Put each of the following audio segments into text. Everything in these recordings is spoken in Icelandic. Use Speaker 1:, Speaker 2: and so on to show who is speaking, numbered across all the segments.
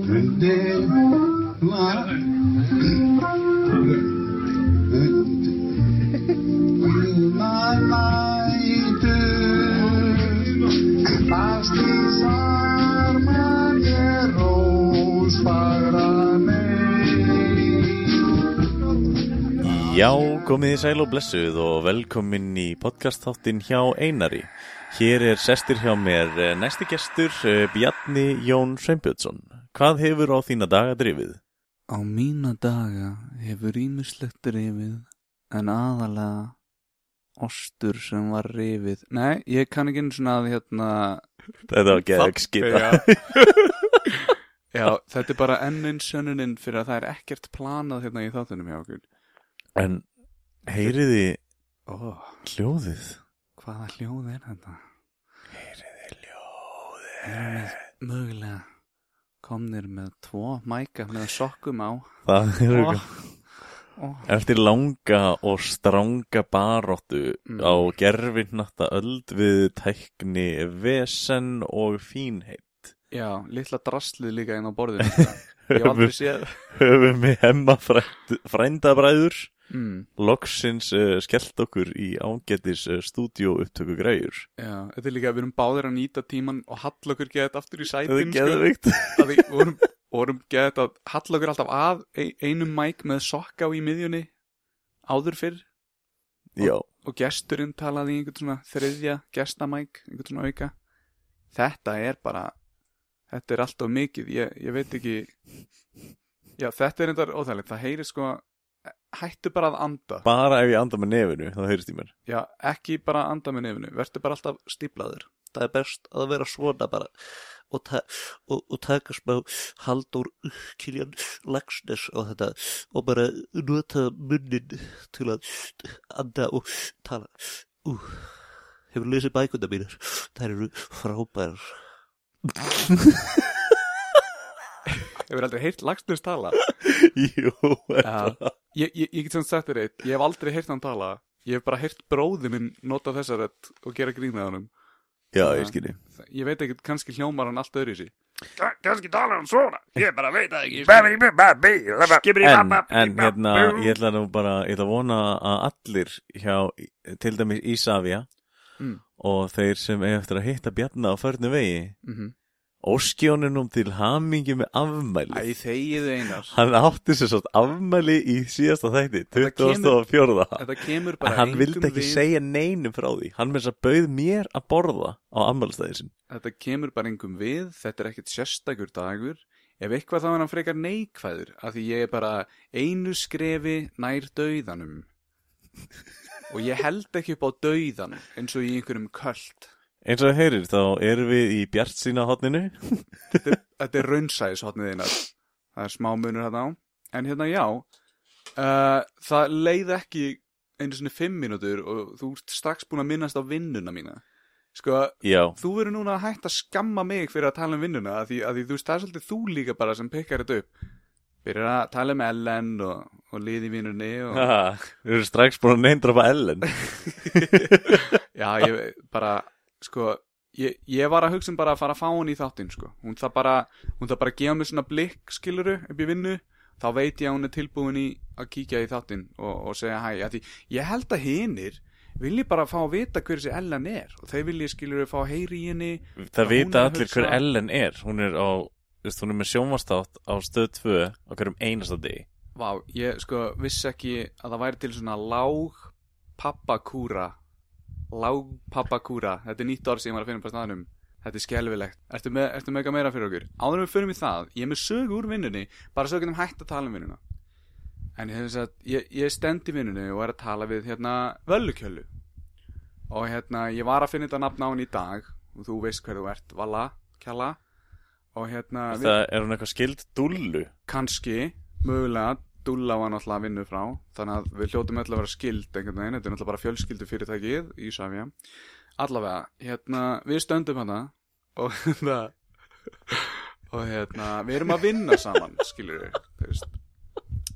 Speaker 1: 근데 말 my light pastis armageros para me
Speaker 2: Já, komið í sæl og blessuð og velkomin í podcastþáttin hjá Einari. Hér er sestir hjá mér eh, næsti gestur eh, Bjarni Jón Sveinbjörnsson. Hvað hefur á þína daga drifið?
Speaker 3: Á mína daga hefur ímislegt rifið en aðalega ostur sem var rifið. Nei, ég kann ekki einu svona að hérna...
Speaker 2: Þetta var gegg skita.
Speaker 3: Já. Já, þetta er bara enn einn sönnunin fyrir að það er ekkert planað hérna í þáttunum hjá okkur.
Speaker 2: En heyriði
Speaker 3: Ó,
Speaker 2: hljóðið?
Speaker 3: hvaða hljóð er þetta?
Speaker 2: Heyriði hljóðið.
Speaker 3: Erum við mögulega komnir með tvo mæka með sokkum á?
Speaker 2: Það er
Speaker 3: Ó,
Speaker 2: ekki.
Speaker 3: ó,
Speaker 2: Eftir langa og stranga baróttu
Speaker 3: Mm.
Speaker 2: á gerfinnatta öld við tækni vesen og fínheit.
Speaker 3: já, litla draslið líka inn á borðinu. þetta. Ég hef aldrei séð...
Speaker 2: höfum við hemma frændabræður
Speaker 3: Mm.
Speaker 2: loksins uh, skellt okkur í ágætis uh, stúdíó upptöku græjur
Speaker 3: Já, þetta er líka að við erum báðir að nýta tíman og halla okkur geðið aftur í
Speaker 2: Þetta er
Speaker 3: sætin
Speaker 2: geðvikt
Speaker 3: að við vorum, vorum geðið að halla okkur alltaf að ein- einum mæk með sokka á í miðjunni áður fyrr
Speaker 2: Já,
Speaker 3: og gesturinn talaði í einhvern svona þriðja gestamæk, einhvern svona auka þetta er bara þetta er alltaf mikið, ég, ég veit ekki já, þetta er endar óþægilegt, það heyri sko hættu bara að anda,
Speaker 2: bara ef ég anda með nefinu þá heyrist í mér
Speaker 3: já, ekki bara að anda með nefnu, verður bara alltaf stíplaður
Speaker 4: það er best að vera svona bara og, ta og, og taka smá Haldur Kiljan Lagsnes og þetta og bara nota munnin til að anda og tala Ú, hefur lesið bækuna mínar þær eru frábærar
Speaker 3: hefur aldrei heyrt lagstins tala
Speaker 2: Jú,
Speaker 3: Já. Ég, ég, ég get sem sagt þér eitt, ég hef aldrei heyrt hann tala Ég hef bara heyrt bróði minn nota þessa rödd og gera grín með honum
Speaker 2: já ég skilji
Speaker 3: Það- Ég veit ekki, kannski hljómar hann allt öðru í sí
Speaker 2: En, en hérna, ég ætla nú bara ég ætla að vona að allir hjá til dæmis Ísafja
Speaker 3: Mm.
Speaker 2: og þeir sem eiga eftir að hitta Bjarna á förnu vegi
Speaker 3: mm
Speaker 2: óskjónunum til hamingi með afmæli
Speaker 3: Æ, þegiðu einar
Speaker 2: Hann átti sér sátt afmæli í síðasta þætti,
Speaker 3: Þetta kemur-
Speaker 2: 2004.
Speaker 3: Þetta kemur
Speaker 2: En
Speaker 3: bara
Speaker 2: hann
Speaker 3: engum
Speaker 2: vildi ekki
Speaker 3: við,
Speaker 2: segja neinum frá því. Hann með þess að bauð mér að borða á afmælistæði sin.
Speaker 3: Þetta kemur bara engum við, þetta er ekkert sérstakur dagur Ef eitthvað þá er hann frekar neikvæður af Því ég er bara einu skrefi nær dauðanum Og ég held ekki upp á dauðan eins og í einhverjum köld
Speaker 2: Eins og þau heyrir, þá erum við í Bjart sína hotninu.
Speaker 3: þetta er raunsæðis hotnið einar það er smá munur hérna á en hérna já uh, það leið ekki einu sinni fimm mínútur og þú ert strax búin að minnast á vinnuna mína sko,
Speaker 2: Já,
Speaker 3: þú verður núna að hætta að skamma mig fyrir að tala um vinnuna að því, að því þú veist, það er svolítið þú líka bara sem pikkar þetta upp byrjar að tala um Ellen og, og liði vinnunni og,
Speaker 2: Ha, við erum strax búin að neindrafa Ellen.
Speaker 3: já, ég bara sko, ég, ég var að hugsa um bara að fara að fá hún í þáttinn sko. hún það bara, hún það bara að gefa mér svona blikk skiluru upp í vinnu þá veit ég að hún er tilbúin í að kíkja í þáttinn og, og segja hæ, að því ég held að hinir vilji bara fá að vita hver þessi Ellen er og þeir vilji skiluru fá að heyri í henni
Speaker 2: Það
Speaker 3: Hún er
Speaker 2: vita
Speaker 3: að
Speaker 2: allir
Speaker 3: hugsa-
Speaker 2: hver Ellen er. Hún er á, veist, hún er með sjónvastátt á stöð 2 á hverjum einasta degi.
Speaker 3: Vá, ég sko vissi ekki að það væri til svona lág pappakúra lág pappakúra, þetta er nýtt orð sem ég var að finna på staðnum þetta er skelvilegt, ertu með, ertu með eitthvað meira fyrir okkur áður en við förum í það, ég er með sögu úr vinnunni bara svo við getum hætt að tala um vinnuna en ég, að, ég, ég stend í vinnunni og er að tala við hérna völlukjölu og hérna ég var að finna þetta nafn á henni í dag og þú veist hver þú ert, Valla, Kjalla og hérna við-
Speaker 2: Það er hún eitthvað skild dullu.
Speaker 3: kannski, mögulega Dúlla var náttúrulega að vinna frá þannig að við hljótum öll að vera skild einhvern veginn, þetta er náttúrulega bara fjölskyldu fyrirtækið í Savja, allavega hérna, við stöndum hana og hérna og hérna, við erum að vinna saman skilur við, þú veist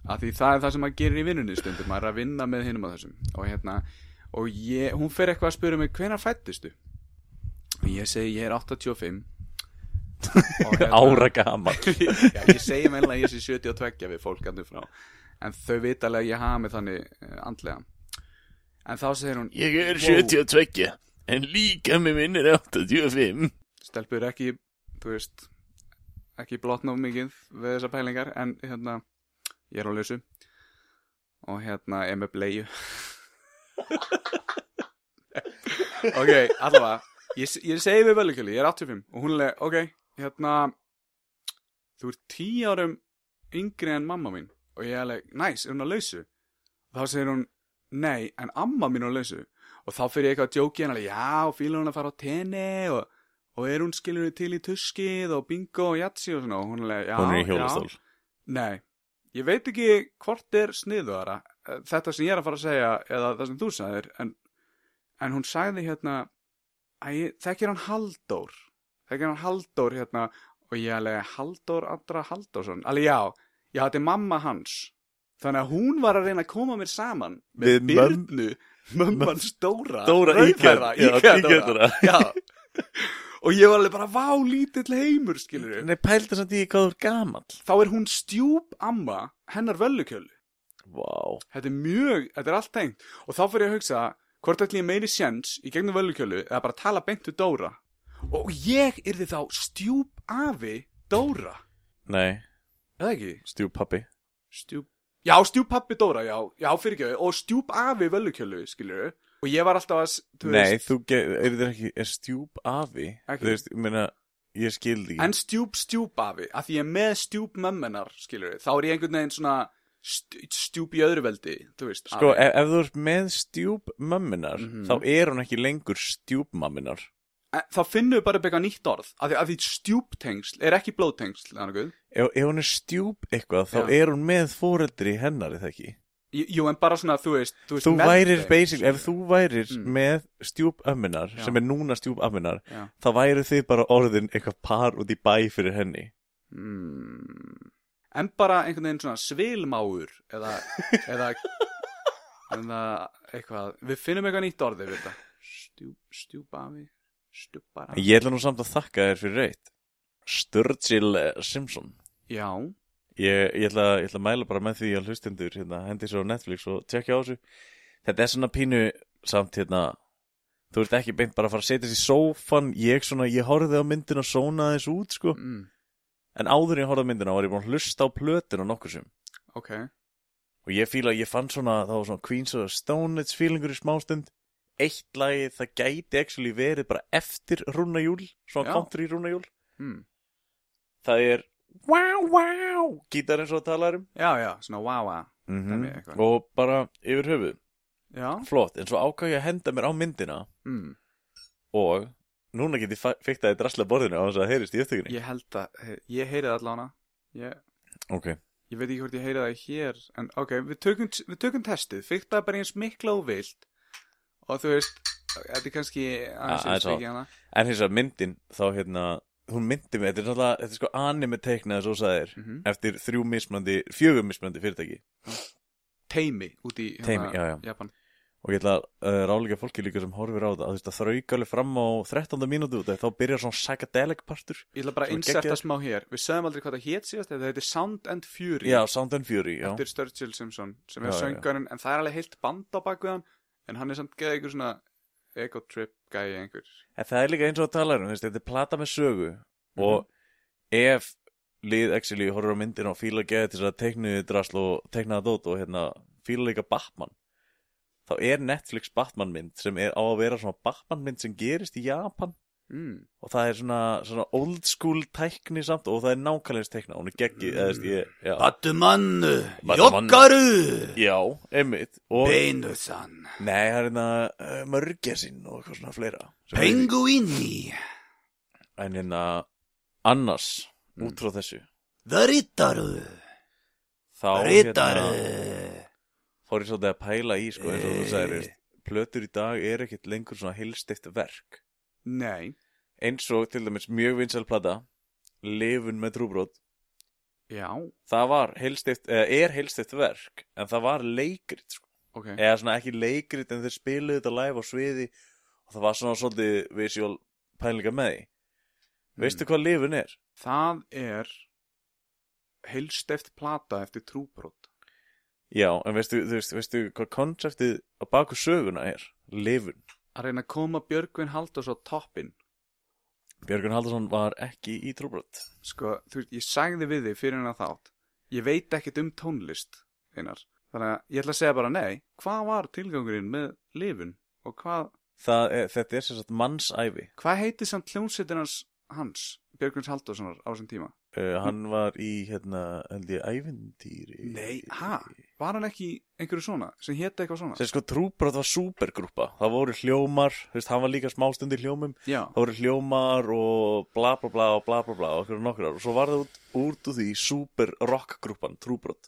Speaker 3: að því það er það sem maður gerir í vinnunni stundum maður er að vinna með hinum að þessum og hérna, og ég, hún fer eitthvað að spyrja mig hvenær fættistu og ég segi ég er 85 Og hérna-
Speaker 2: ára gaman
Speaker 3: Já, ég segi meðlega að ég sé 72 við fólk andur frá En þau vita alveg að ég hafa mig þannig eh, andlega En þá segir hún
Speaker 2: Ég er
Speaker 3: Wow.
Speaker 2: 72 En líka með minn er 85
Speaker 3: Stelpur ekki, þú veist Ekki blotna of mikið við þessar pælingar En hérna, ég er á lausu Og hérna, er með bleiðu Ok, allavega Ég, ég segi við velukjölu, ég er 85 Og hún er, ok, hérna Þú ert 10 árum yngri en mamma mín og ég er alveg, næs, er hún að lausu? Þá segir hún, nei, en amma mín er að lausu og þá fyrir ég eitthvað að djóki hennar, já, fílar hún að fara á tenni og, og er hún skilur til í tuskið og bingo og jatsi og svona og hún er alveg, já,
Speaker 2: Hún er í
Speaker 3: já,
Speaker 2: hjólastól
Speaker 3: Nei, ég veit ekki hvort er sniðuðara eh, þetta sem ég er að fara að segja eða það sem þú sagðir en, en hún sagði hérna að ég, þekkir hann Halldór þekkir hann Halldór hérna og ég alveg Halldór Andra Halldórsson alveg já, já þetta er mamma hans þannig að hún var að reyna að koma mér saman með
Speaker 2: Við mömm-
Speaker 3: Byrnu mömman stóra
Speaker 2: Dóra
Speaker 3: rauðhærða,
Speaker 2: Íkjörn
Speaker 3: Íkjörn Dóra. Já. og ég var alveg bara vá lítill heimur skilur
Speaker 2: Nei, pælta samt í hvað þú er gamall
Speaker 3: þá er hún stjúp amma hennar völlukjölu
Speaker 2: Vá
Speaker 3: þetta er mjög, þetta er allt tengt og þá fyrir ég að hugsa hvort ætlum ég meiri sjens í gegnum völlukjölu eða bara tala beint við Dóra og ég yrði þá stjúp afi Dóra
Speaker 2: Nei,
Speaker 3: eða ekki?
Speaker 2: stjú pappi
Speaker 3: Stjúp Já, stjúp pappi Dóra, já, já, fyrir ekki og stjúp afi völlukjölu, skilur og ég var alltaf að, s- þú
Speaker 2: Nei, þú er þetta ekki, er stjúp afi
Speaker 3: Ekki.
Speaker 2: Þú veist, ég meina, ég skildi
Speaker 3: en stjúp stjúp afi að því ég er með stjúp mömmenar, skilur þá er ég einhvern veginn svona stj- stjúp í öðru veldi, þú veist
Speaker 2: Sko,
Speaker 3: afi.
Speaker 2: ef, ef þú ert með stjúp mömmunar
Speaker 3: Mhm.
Speaker 2: Þá er hún ekki lengur stjúp mammunar
Speaker 3: En Eh, þá finnum við bara upp eitthvað nýtt orð að því, að því stjúptengsl er ekki blóðtengsl eða nokkuð.
Speaker 2: ef, ef hún er stjúp eitthvað Þá
Speaker 3: Já.
Speaker 2: er hún með fóreldri hennar, er það ekki
Speaker 3: Jú, jú, en bara svona, þú veist, þú veist
Speaker 2: Þú
Speaker 3: með
Speaker 2: værir,
Speaker 3: þeim,
Speaker 2: basically, ef
Speaker 3: skilur.
Speaker 2: þú værir
Speaker 3: Mm.
Speaker 2: með stjúp ömmunar
Speaker 3: Já.
Speaker 2: Sem er núna stjúp ömmunar
Speaker 3: Já.
Speaker 2: Þá væri þið bara orðin eitthvað par út í bæ fyrir henni
Speaker 3: Mm, en bara einhvern veginn svona svilmáur eða, eða, eða eitthvað, við finnum eitthvað nýtt orð yfir þetta. Stjúp, stjúpafi, stjúpara.
Speaker 2: Ég ætla nú samt að þakka þér fyrir reitt Sturgill eh, Simpson
Speaker 3: Já,
Speaker 2: Ég, ég, ætla, ég ætla að mæla bara með því að hlustendur hérna, hendi svo á Netflix og tekja á þessu Þetta er svona pínu samt hérna Þú ert ekki beint bara að fara að setja þessi sófan Ég svona, ég horfði á myndina svona aðeins út sko
Speaker 3: mm,
Speaker 2: En áður en ég horfði á myndina var ég búin að hlusta á plötuna nokkur sem
Speaker 3: ok,
Speaker 2: Og ég fíla, ég fann svona, það var svona Queens of the Stone Age feelingur í smástund Eitt lagið, það gæti actually verið bara eftir rúnajúl
Speaker 3: Já.
Speaker 2: Svona country rúnajúl
Speaker 3: mm,
Speaker 2: Það er Wow, wow Gítar eins og það talar um
Speaker 3: já, já, svona váa, Dæmi eitthvað.
Speaker 2: Mhm. Og bara yfir höfuð
Speaker 3: já,
Speaker 2: Flott, en svo ákvað ég að henda mér á myndina
Speaker 3: mm,
Speaker 2: Og núna get ég fa- fikta í drasla borðinu Á þess að það heyrist í upptökunni
Speaker 3: ég held að, ég heyrið allána, ég,
Speaker 2: Ok,
Speaker 3: Ég veit ekki hvort ég heyra það hér En ok, við tökum, við tökum testið Fikta bara eins mikla og vilt Og þú veist, þetta er kannski
Speaker 2: Ja,
Speaker 3: aðeins
Speaker 2: þetta-
Speaker 3: ekki hana
Speaker 2: en hins að myndin Þá hérna, hún myndi mig Þetta er náttúrulega, þetta er sko anime teiknað Svo sagðir,
Speaker 3: mm -hmm.
Speaker 2: eftir þrjú mismandi Fjögum mismandi fyrirtæki
Speaker 3: Teimi út í hérna,
Speaker 2: Teimi, já, já.
Speaker 3: Japan
Speaker 2: Og ég ætla að uh, ráleika fólki líka sem horfir á það Að þú veist að þrauka alveg fram á 13. mínútu út af því Þá byrjar svona psychedelic partur
Speaker 3: Ég ætla bara að
Speaker 2: Sem er
Speaker 3: inserta
Speaker 2: geggjað.
Speaker 3: smá hér Við sögum aldrei hvað það hétt síðast Þetta heitir Sound and Fury
Speaker 2: Já, Sound and Fury, já
Speaker 3: Eftir Sturgill Simpson Sem
Speaker 2: Já,
Speaker 3: er
Speaker 2: já, já.
Speaker 3: söngarinn En það er alveg heilt band á bak við hann En hann er samt geða einhver svona Ego trip gæi einhver
Speaker 2: En það er líka eins og að tala um, þú veist, þetta er plata með sögu og ef lið actually horfur á myndina og fíla geði til þess að teiknuði drasl og teiknaða dót og hérna fíla líka Batman þá er Netflix Batman mynd sem er á að vera svona Batman mynd sem gerist í Japan
Speaker 3: mm.
Speaker 2: og það er svona, svona old school tækni samt og það er nákvæmlega teikna, hún er geggi eða þú veist, ég, já,
Speaker 3: Batumann
Speaker 2: Batuman.
Speaker 3: Jokkaru
Speaker 2: já, einmitt og,
Speaker 3: Beinusan
Speaker 2: nei, það er hérna uh, mörgesinn og eitthvað svona fleira sem er-
Speaker 3: Penguini
Speaker 2: en hérna annars,
Speaker 3: Mm.
Speaker 2: út frá þessu
Speaker 3: Það rítaru
Speaker 2: þá hérna,
Speaker 4: Riddare.
Speaker 2: fór ég svolítið að pæla í sko, eins og þú
Speaker 4: Eh.
Speaker 2: sagðir, veist, plötur í dag er ekkert lengur svona heilstift verk
Speaker 3: Nei
Speaker 2: eins og til dæmis mjög vinsæl plata Lifun með trúbrot
Speaker 3: Já,
Speaker 2: það var heilstift, eða er heilstift verk en það var leikrit sko.
Speaker 3: ok
Speaker 2: eða svona ekki leikrit en þeir spiluðu þetta live á sviði og það var svona svolítið visual pælinga með því Veistu hvað lifun er?
Speaker 3: Það er heilsteft plata eftir trúbrot.
Speaker 2: Já, en veistu, þú veist, veistu hvað konseptið á baku söguna er? Lifun.
Speaker 3: Að reyna að koma Björgvin Halldórs á toppin.
Speaker 2: Björgun Haldarsson var ekki í trúbrot.
Speaker 3: Sko, þú veist, ég sagði við þig fyrir hennar þátt. Ég veit ekkert um tónlist, einar. Þannig að ég ætla að segja bara nei. Hvað var tilgangurinn með lifun? Og hvað,
Speaker 2: Það er, þetta er sem sagt mannsæfi.
Speaker 3: hvað heiti samt hljónsettinans hans, Björgvins Halldórssonar, á þessum tíma?
Speaker 2: Uh, hann var í, hérna, held ég, ævindýri.
Speaker 3: Nei, ha? Var hann ekki í einhverju svona, sem hétt eitthvað svona?
Speaker 2: Sér sko, trúbrot var supergrúpa. Það voru hljómar, þú veist, hann var líka smástundir hljómum.
Speaker 3: Já,
Speaker 2: Það voru hljómar og bla bla bla og bla bla bla og okkur og nokkur og svo var það út, út úr því super rockgrúpan Trúbrot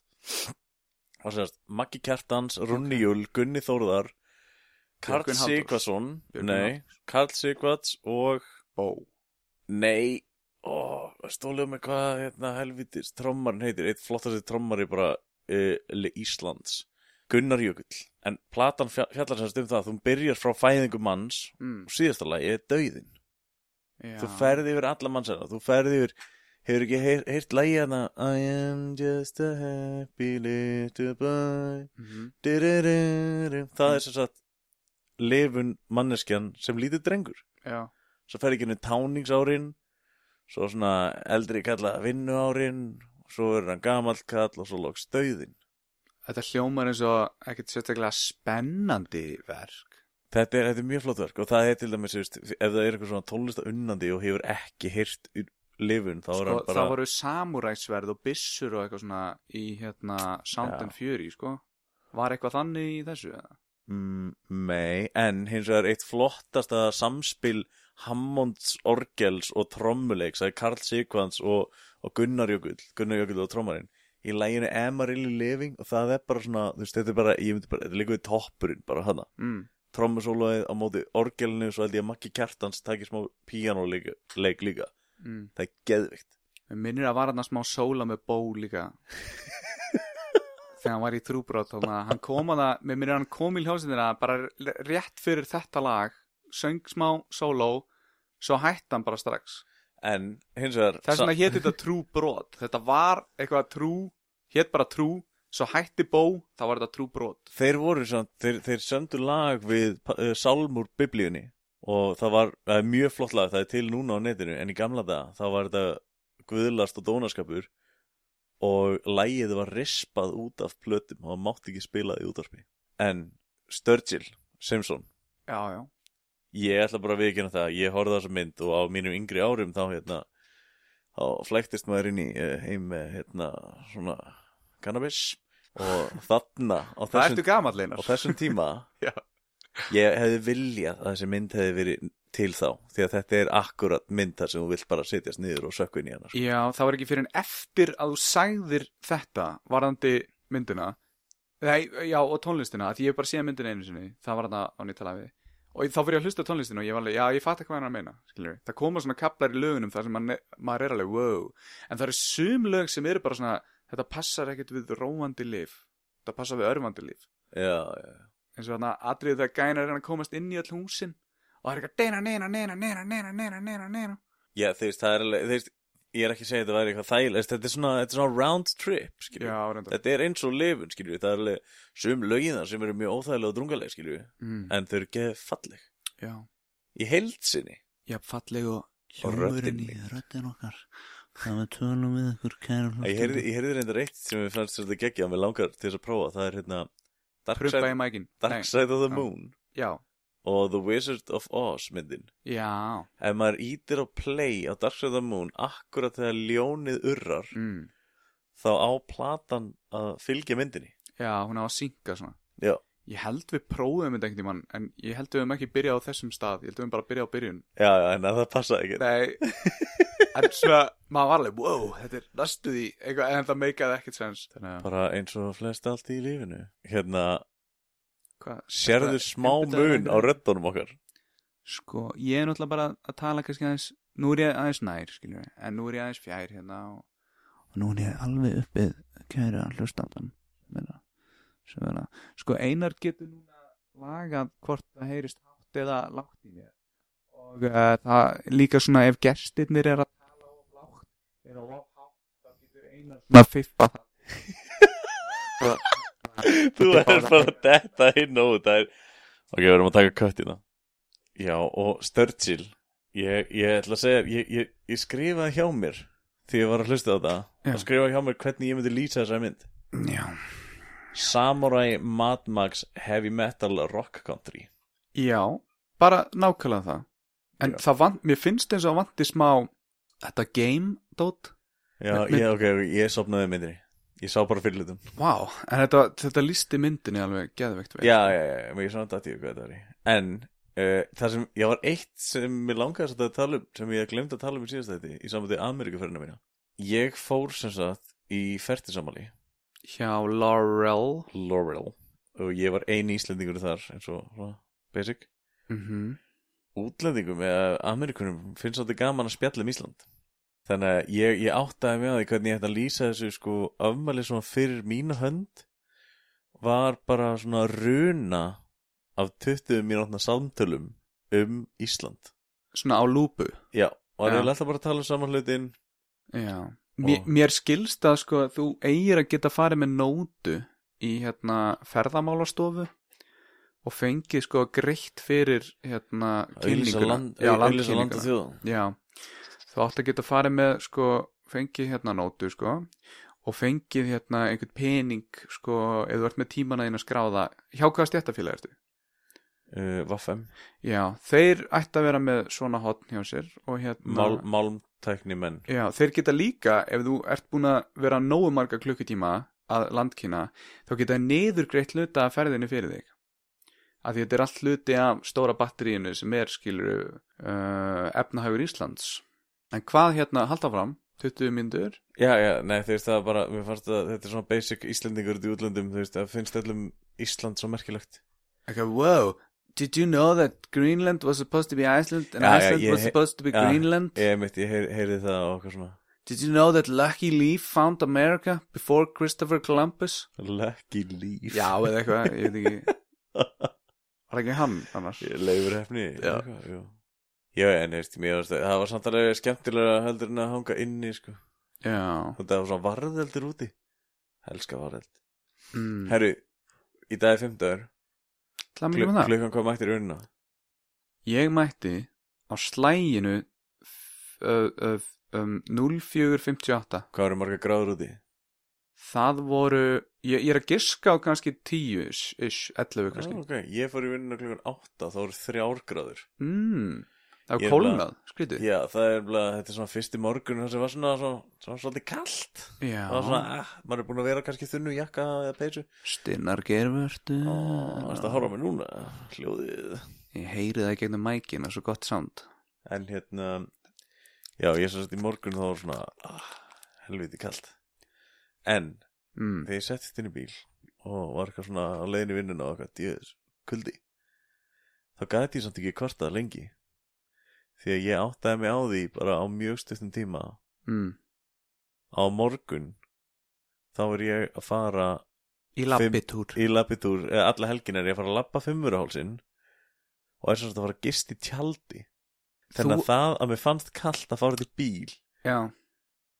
Speaker 2: og sérst Maggi Kjartans, Runni Júl, Gunni Þórðar Karl
Speaker 3: Björgvin Halldórs.
Speaker 2: Sigvason
Speaker 3: Björgvin
Speaker 2: nei, Karl Sigvats og
Speaker 3: bó.
Speaker 2: nei, ó, stólið með hvað hérna helvitis trommarinn heitir eitt flottasti trommari bara uh, Íslands, Gunnar Jökull en platan fjall- fjallar sérst um það að þú byrjar frá fæðingu manns
Speaker 3: Mm,
Speaker 2: og síðasta lagi er döiðin
Speaker 3: já.
Speaker 2: þú ferði yfir alla mannsæna þú ferði yfir, hefur ekki heyr, heyrt lægi hana I am just a happy little boy
Speaker 3: Mhm.
Speaker 2: Diriririri. það er sem sagt lifun manneskjan sem lítið drengur
Speaker 3: Já,
Speaker 2: svo ferði ekki henni táningsárin svo svona eldri kalla vinnuárin svo verður hann gamall kall og svo loks döiðin
Speaker 3: þetta hljómar eins og ekkert sérstaklega spennandi verk.
Speaker 2: Þetta er, þetta er mjög flott verk og það er til dæmis, þú veist, ef það er eitthvað svona tónlista unnandi og hefur ekki heyrt lifun, þá er
Speaker 3: Sko,
Speaker 2: hann bara...
Speaker 3: Það voru samuræsverð og byssur og eitthvað svona í hérna Sound
Speaker 2: Já.
Speaker 3: and Fury, sko. Var eitthvað þannig í þessu? eða?
Speaker 2: Mm, Nei, en hins vegar eitt flottasta samspil Hammonds orgels og trommuleiks það er Karl Sigvans og, og Gunnar Jökull Gunnar Jökull og trommarinn í læginu Am I Really Living og það er bara svona, þú veist, þetta er bara, ég myndi bara þetta er líka við toppurinn, bara hana
Speaker 3: Mm.
Speaker 2: trommusólaðið á móti orgelinu svo held ég að Maggi Kjartans takir smá píanóleik leik líka,
Speaker 3: Mm.
Speaker 2: það er geðvikt
Speaker 3: Mér minnir að var hann að smá sóla með bó líka. Þegar hann var í trúbrot, þannig að hann kom að það, mér minnir að hann kom í hljómsveitina bara r- rétt fyrir þetta lag, söng smá sóló, svo hætti hann bara strax.
Speaker 2: en hins vegar
Speaker 3: Þess
Speaker 2: sa-
Speaker 3: vegna hétt þetta trú brot Þetta var eitthvað trú Hétt bara trú Svo hætti bó Þá var þetta trú brot
Speaker 2: þeir voru samt, þeir, þeir söndu lag við uh, Salmur biblíunni og það var uh, mjög flott lag, það er til núna á netinu en í gamla það, þá var þetta guðlast og dónaskapur og lagið var rispað út af plötum og það mátti ekki spila því útarpi en Sturgill Simpson,
Speaker 3: Já, já
Speaker 2: ég ætla bara að viðkynna það ég horfði á þessa mynd og á mínum yngri árum þá hérna þá flæktist maður inn í eh, heim með hérna svona cannabis og þarna á
Speaker 3: Það
Speaker 2: þessum
Speaker 3: ertu gamall
Speaker 2: á
Speaker 3: einar
Speaker 2: þessum tíma
Speaker 3: Já.
Speaker 2: ég hefði viljað að þessi mynd hefði verið til þá því að þetta er akkurat mynd þar sem þú vilt bara setjast niður og sökka inn í hana sko.
Speaker 3: Já, það var ekki fyrir en eftir að þú sagðir þetta Varðandi myndina Nei, já, og tónlistina Því ég hef bara séð myndina einu sinni Það var þetta á nýttalafi Og þá fyrir ég að hlusta á tónlistina og ég var alveg, já, ég fatt hvað hann er að meina, skilur við. Það koma svona kaplar í lögunum þar sem maður, maður er alveg, wow. En það eru sum lög sem eru bara svona, þetta passar ekkert við róandi líf. Þetta passar við örvandi líf.
Speaker 2: já, já.
Speaker 3: eins og þarna atriðið þegar gæna er hann að komast inn í öll húsin og það er eitthvað neina, neina, neina, neina, neina, neina, neina, neina
Speaker 2: já þú veist, það er alveg þú veist, ég er ekki að segja að þetta væri eitthvað þægilegst þetta er svona, þetta er svona round trip skilju
Speaker 3: Já, reyndar
Speaker 2: þetta er eins og lifun skilju það er alveg sum lögin þar sem eru mjög óþægilega og drungalega skilju
Speaker 3: mm,
Speaker 2: en þau eru geðið falleg
Speaker 3: Já,
Speaker 2: í heild sinni
Speaker 3: já, falleg og
Speaker 2: Og
Speaker 4: Hljómurinn
Speaker 2: röddin
Speaker 4: í röddin okkar Það við tölum við ykkur kæra
Speaker 2: hérna. ég heyrði, ég heyrði reyndar eitt sem við fannst þetta geggja og mér langar til þess að prófa það er hérna Dark
Speaker 3: prumpa
Speaker 2: Side,
Speaker 3: í mækin
Speaker 2: Dark Side of the
Speaker 3: Já.
Speaker 2: Moon
Speaker 3: Já,
Speaker 2: og The Wizard of Oz myndin
Speaker 3: já
Speaker 2: ef maður ítir á play á Dark Side of the Moon akkurat þegar ljónið urrar
Speaker 3: mm,
Speaker 2: þá á platan að fylgja myndinni
Speaker 3: Já, hún á að synka svona
Speaker 2: Já.
Speaker 3: Ég held við prófum þetta einhvern tímann en ég held við höfum ekki byrjað á þessum stað ég held við höfum bara byrjað á byrjun
Speaker 2: já, já, en það passaði ekki
Speaker 3: Nei, en svona maður var alveg, wow, þetta er næstu því eitthvað, en það meikaði ekkert sens Þannig að,
Speaker 2: bara eins og flest allt í lífinu hérna,
Speaker 3: hvað,
Speaker 2: sérðu
Speaker 3: Þetta-
Speaker 2: smá
Speaker 3: þetta er-
Speaker 2: mun á röddunum okkar
Speaker 3: Sko, ég er náttúrulega bara að tala kannski aðeins, nú er ég aðeins nær, skiljum við, en nú er ég aðeins fjær hérna og, og nú er ég alveg uppið kæra hlustandan sem er að, sem er að, sko, einar getur núna lagað hvort það heyrist hátt eða lágt í mér og uh, það líka svona ef gestirnir er að tala of lágt er að lágt hátt þá getur einar svona fippa það
Speaker 2: Þú
Speaker 3: Þetta er
Speaker 2: er
Speaker 3: bara-
Speaker 2: bara þetta inn og út það er... Ok, við erum að taka hérna. köttina Já, og Sturgill Ég, ég ætla að segja, ég, ég, ég skrifaði hjá mér Því ég var að hlusta á það
Speaker 3: Já.
Speaker 2: Og skrifaði hjá mér hvernig ég myndi lýsa þessa mynd
Speaker 3: já
Speaker 2: Samurai Mad Max Heavy Metal Rock Country
Speaker 3: Já, bara nákvæmlega það En
Speaker 2: Já.
Speaker 3: það vant, mér finnst eins og það vanti smá Þetta game, dót
Speaker 2: Já,
Speaker 3: Mynd- mynd-
Speaker 2: ég, ok, ég sopnaði myndri Ég sá bara fyrir hlutum
Speaker 3: Vá, en þetta, þetta listi myndinni alveg geðveikt vel
Speaker 2: Já, já, já, já, ég svona dætti ég hvað það er En uh, það sem, ég var eitt sem mér langaði svolítið að tala um sem ég glemt að tala um í síðast þetta í samvætti Ameríkuferðina mína Ég fór sem sagt í fertisamali
Speaker 3: Hjá Laurel
Speaker 2: Laurel og ég var ein íslendingur þar eins og svona, basic
Speaker 3: mm
Speaker 2: Mhm. Útlendingum eða Ameríkunum finnst svolítið gaman að spjalla um Ísland Þannig að ég, ég áttaði mig á því hvernig ég ætti að lýsa þessu sko afmæli svona fyrir mína hönd var bara svona runa af 20 mínútna samtölum um Ísland.
Speaker 3: Svona á lúpu
Speaker 2: Já, og það
Speaker 3: Já.
Speaker 2: er alltaf bara að tala um saman hlutin.
Speaker 3: Já Mér, mér skilst að sko að þú eigir að geta farið með nótu í hérna ferðamálastofu og fengið sko greitt fyrir hérna kynninguna Já,
Speaker 2: Auðlýsa land
Speaker 3: landkynninguna.
Speaker 2: og þjóðan.
Speaker 3: Já, þú átt að geta farið með sko, fengið hérna nótu sko og fengið hérna einhvern pening sko, ef þú ert með tímana þín að skráða hjá hvaða stjættafélag ertu?
Speaker 2: Uh, Vaffem,
Speaker 3: Já, þeir ætti að vera með svona hotn hjá sér og hérna
Speaker 2: Mál, málmtækni menn.
Speaker 3: Já, þeir geta líka, ef þú ert búin að vera nógu marga klukkutíma að landkynna, þá geta þeir niðurgreitt hluta að ferðinni fyrir þig. Af því þetta er allt hluti af stóra batteríinu sem er, skilur, uh, efnahagur Íslands. En hvað hérna, halda fram, 20 myndur?
Speaker 2: Já, já, nei, þú veist það er bara, mér fannst að þetta er svona basic Íslendingur út í útlöndum, þú veist, það finnst öllum Ísland svo merkilegt.
Speaker 3: Like, wow, did you know that Greenland was supposed to be Iceland
Speaker 2: Já,
Speaker 3: and
Speaker 2: já,
Speaker 3: Iceland
Speaker 2: ég
Speaker 3: was
Speaker 2: he-
Speaker 3: supposed to be
Speaker 2: já,
Speaker 3: Greenland?
Speaker 2: Ég mitt, ég heyri, heyri það og okkar svona.
Speaker 3: Did you know that Lucky Leaf found America before Christopher Columbus?
Speaker 2: Lucky Leaf
Speaker 3: Já, eða eitthvað, ég veit ekki Var ekki hann annars?
Speaker 2: Leifur hefni
Speaker 3: Já.
Speaker 2: eitthvað, jú. Já, en veist, mér varst það var samt alveg skemmtilega heldur en að hanga inni sko.
Speaker 3: Já
Speaker 2: og það var svona varðeldur úti Helska varðeld
Speaker 3: mm.
Speaker 2: Herru, í dag er fimmtudagur
Speaker 3: Það mikið með
Speaker 2: Klu-
Speaker 3: það
Speaker 2: klukkan kom mættir í unna
Speaker 3: Ég mætti á slæginu f- ö- ö- um, 0458
Speaker 2: Hvað eru marga gráður úti?
Speaker 3: Það voru Ég, ég er að giska á kannski 10 ish, ish 11
Speaker 2: Já,
Speaker 3: kannski
Speaker 2: ok, ég fór í vinnuna klukkan átta þá eru þrjár gráður
Speaker 3: mm. Það
Speaker 2: Ég er
Speaker 3: var kólnað, skrítið
Speaker 2: Já, það er bara, þetta er svona fyrsti morgun það sem var svona, svona, svona svolítið kalt
Speaker 3: Já,
Speaker 2: það var svona, ah, maður er búin að vera kannski þunnu jakka eða peysu
Speaker 3: stinnar gervörtu
Speaker 2: Það er að horfa á mig núna, hljóðið
Speaker 3: Ég heyri það í gegnum mækin, það er svo gott sound
Speaker 2: En hérna Já, ég svo sett í morgun þá var svona ah, Helviti kalt En
Speaker 3: mm.
Speaker 2: þegar ég settist inn í bíl Og var eitthvað svona á leiðin í vinnuna Og eitthvað, djöður, kuldi Þá gæti ég samt ekki kvartað lengi Því að ég áttaði mig á því Bara á mjög stuttum tíma
Speaker 3: Mm.
Speaker 2: Á morgun Þá er ég að fara
Speaker 3: Í labbitúr
Speaker 2: í labbitúr eða alla helgin er ég að fara að labba fimmurahálsin og er sem sagt að fara að gist í tjaldi þannig
Speaker 3: Þú-
Speaker 2: að það að mér fannst kallt að fara til bíl
Speaker 3: Já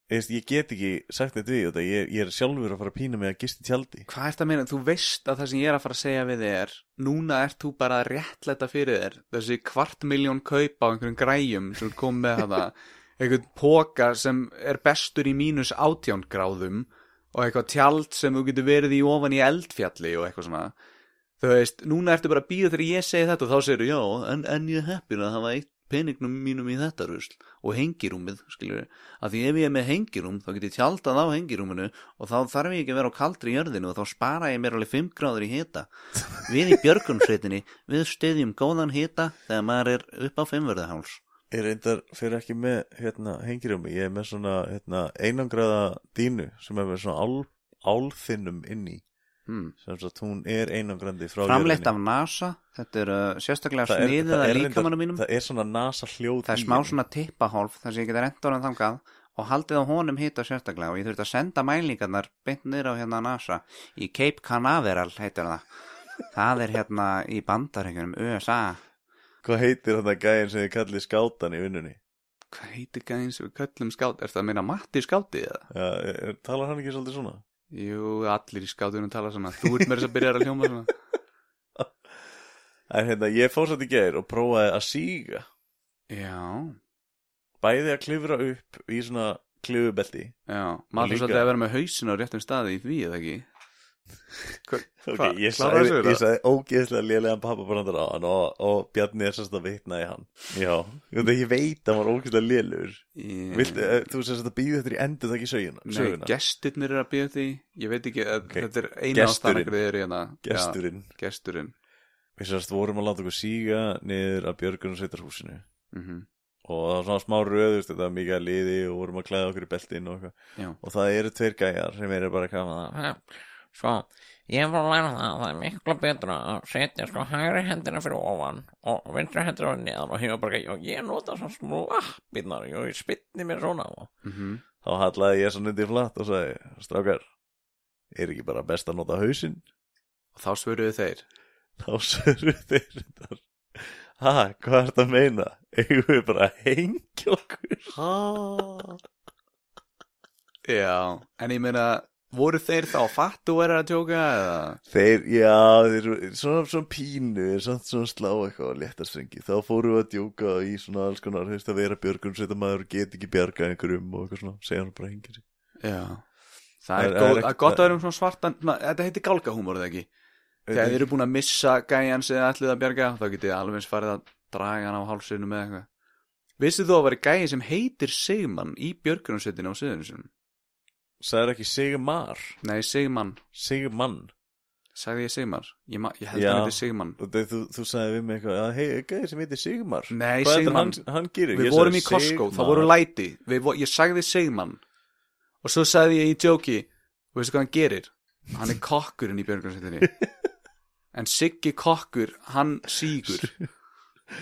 Speaker 2: Ég veist, ég get ekki sagt neitt við þetta ég, ég er sjálfur að fara að pína mig að gist í tjaldi
Speaker 3: Hvað ert að meina? Þú veist að það sem ég er að fara að segja við þig er Núna ert þú bara að réttlæta fyrir þér Þessi kvart miljón kaup á einhverjum græjum sem er komið með þetta Einhvern póka sem er bestur í mínus átján gráðum Og eitthvað tjald sem þú getur verið í ofan í eldfjalli og eitthvað svona Þú veist, núna ertu bara að býða þegar ég segi þetta og þá segir þú, já, en, en ég er heppin að hafa eitt peningnum mínum í þetta rusl og hengirúmið, skiljur að því ef ég er með hengirúm þá get ég tjaldað á hengirúminu og þá þarf ég ekki að vera á kaldri jörðinu og þá spara ég mér alveg 5 gráður í hita við í björgunsveitinni við stiðjum góðan hita þegar maður er upp á 5 verðaháls
Speaker 2: ég reyndar fyrir ekki með hérna, hengirjómi, ég er með svona hérna, einangraða dínu sem er með svona ál, álþinnum inni
Speaker 3: hmm.
Speaker 2: sem sagt hún er einangrandi frá
Speaker 5: framleitt
Speaker 2: jörðinni.
Speaker 5: af NASA þetta er uh, sérstaklega
Speaker 2: Það er-
Speaker 5: sniðið
Speaker 2: það
Speaker 5: að
Speaker 2: er reyndar-
Speaker 5: líkamanum mínum
Speaker 2: það er svona nasa hljóð
Speaker 5: það er smá
Speaker 3: Mm.
Speaker 5: svona tippahólf þar sem ég geta rent orðan þangað og haldið á honum hita sérstaklega og ég þurfti að senda mælingarnar beint niður á hérna NASA í Cape Canaveral heitir það það er hérna í bandarengjunum USA
Speaker 2: Hvað heitir þetta gæðin sem þið kallið skátan í vinnunni?
Speaker 3: Hvað heitir gæðin sem við köllum skátt? Er það að meina Matti skátti eða?
Speaker 2: Já, er, er- talar hann ekki svolítið svona?
Speaker 3: Jú, allir í skáttunum tala svona. Þú ert mér þess að byrja að hljóma svona.
Speaker 2: En hérna, ég fór satt í gæðir og prófaði að síga
Speaker 3: Já,
Speaker 2: Bæði að klifra upp í svona klifubelti
Speaker 3: já. Maður
Speaker 2: líka-
Speaker 3: þarf svolítið að vera með hausin á réttum staði í því eða ekki?
Speaker 2: Ok,
Speaker 3: Hva-
Speaker 2: ég
Speaker 3: kláraðu
Speaker 2: sagði,
Speaker 3: söguna?
Speaker 2: ég sagði ógeðslega lélegan pappabrandar á hann og, og Bjarni er sérst að vitna í hann Já, ég veit, ég veit að hann var ógeðslega lélegur
Speaker 3: Ég...
Speaker 2: Viltu, eh, Þú sérst að býða þetta í endur það ekki söguna,
Speaker 3: Mm. Nei,
Speaker 2: söguna.
Speaker 3: gestirnir eru að býða því. Ég veit ekki, að,
Speaker 2: Ok,
Speaker 3: þetta er eina ástæðan
Speaker 2: gesturinn.
Speaker 3: hverju þið eru hérna. Já,
Speaker 2: Gesturinn
Speaker 3: gesturinn.
Speaker 2: Við sérst vorum að láta okkur síga niður að Björgunarsveitarhúsinu
Speaker 3: Mm
Speaker 2: og það var svona smá röðust þetta var mikið að liði og vorum að klæða okkur í beltin og, eitthvað.
Speaker 3: Já.
Speaker 2: og það eru tveir gæjar sem eru bara að kafa það
Speaker 6: Ha, Sko, ég var að læra það að það er miklu betra að setja sko hægri hendina fyrir ofan og vinstri hendina fyrir neðan og hefur bara, já, ég nota svo smú appinnar og ég spytni mér svona og
Speaker 2: þá hallaði ég svo nýndi flatt og sagði, strákar er ekki bara best að nota hausinn
Speaker 3: Og þá svöruðu þeir.
Speaker 2: þá sörðu þeir þetta ha, hvað er þetta að meina eigum við bara að hengja okkur
Speaker 3: Já, en ég meina, voru þeir þá að fattu að vera að tjóka eða?
Speaker 2: þeir, já, þeir, svona, svona pínu samt svona slá eitthvað á léttastrengi þá fórum við að djóka í svona alls konar þú veist að vera björgun, sveita maður get ekki bjarga einhverjum og eitthvað svona, segja hann bara hengja sig
Speaker 3: Já. Það er,
Speaker 2: Það er- það
Speaker 3: góð,
Speaker 2: er
Speaker 3: það er
Speaker 2: ekki-
Speaker 3: gott að vera um svona svartan, na, þetta heitir gálgahúmor eða ekki? Þegar þið eru búin að missa gæjan sem þið ætlið að bjarga, þá getið þið alveg eins farið að draga hann á hálsinu með eitthvað. Vissið þú að vera gæja sem heitir Sigmann í björgunarsveitinu á Suðunisunum?
Speaker 2: sagði ekki Sigmar
Speaker 3: Nei, Sigmann,
Speaker 2: Sigmann
Speaker 3: sagði ég Sigmar? Ég, ma- ég held
Speaker 2: Já.
Speaker 3: að hann heiti Sigmann.
Speaker 2: og þú, þú, þú sagði við mig eitthvað að hei, gæði sem heitir Sigmar
Speaker 3: Nei,
Speaker 2: hvað er þetta
Speaker 3: Sigmann.
Speaker 2: hann, hann gerir
Speaker 3: Við
Speaker 2: Ég
Speaker 3: vorum
Speaker 2: sagði,
Speaker 3: í Costco,
Speaker 2: Sigmar.
Speaker 3: það voru læti við, vo- Ég sagði Sigmann Og svo sagði ég í djóki Og veistu hvað hann gerir? Hann er kokkurinn í björgunarsveitinni En Siggi kokkur, hann sígur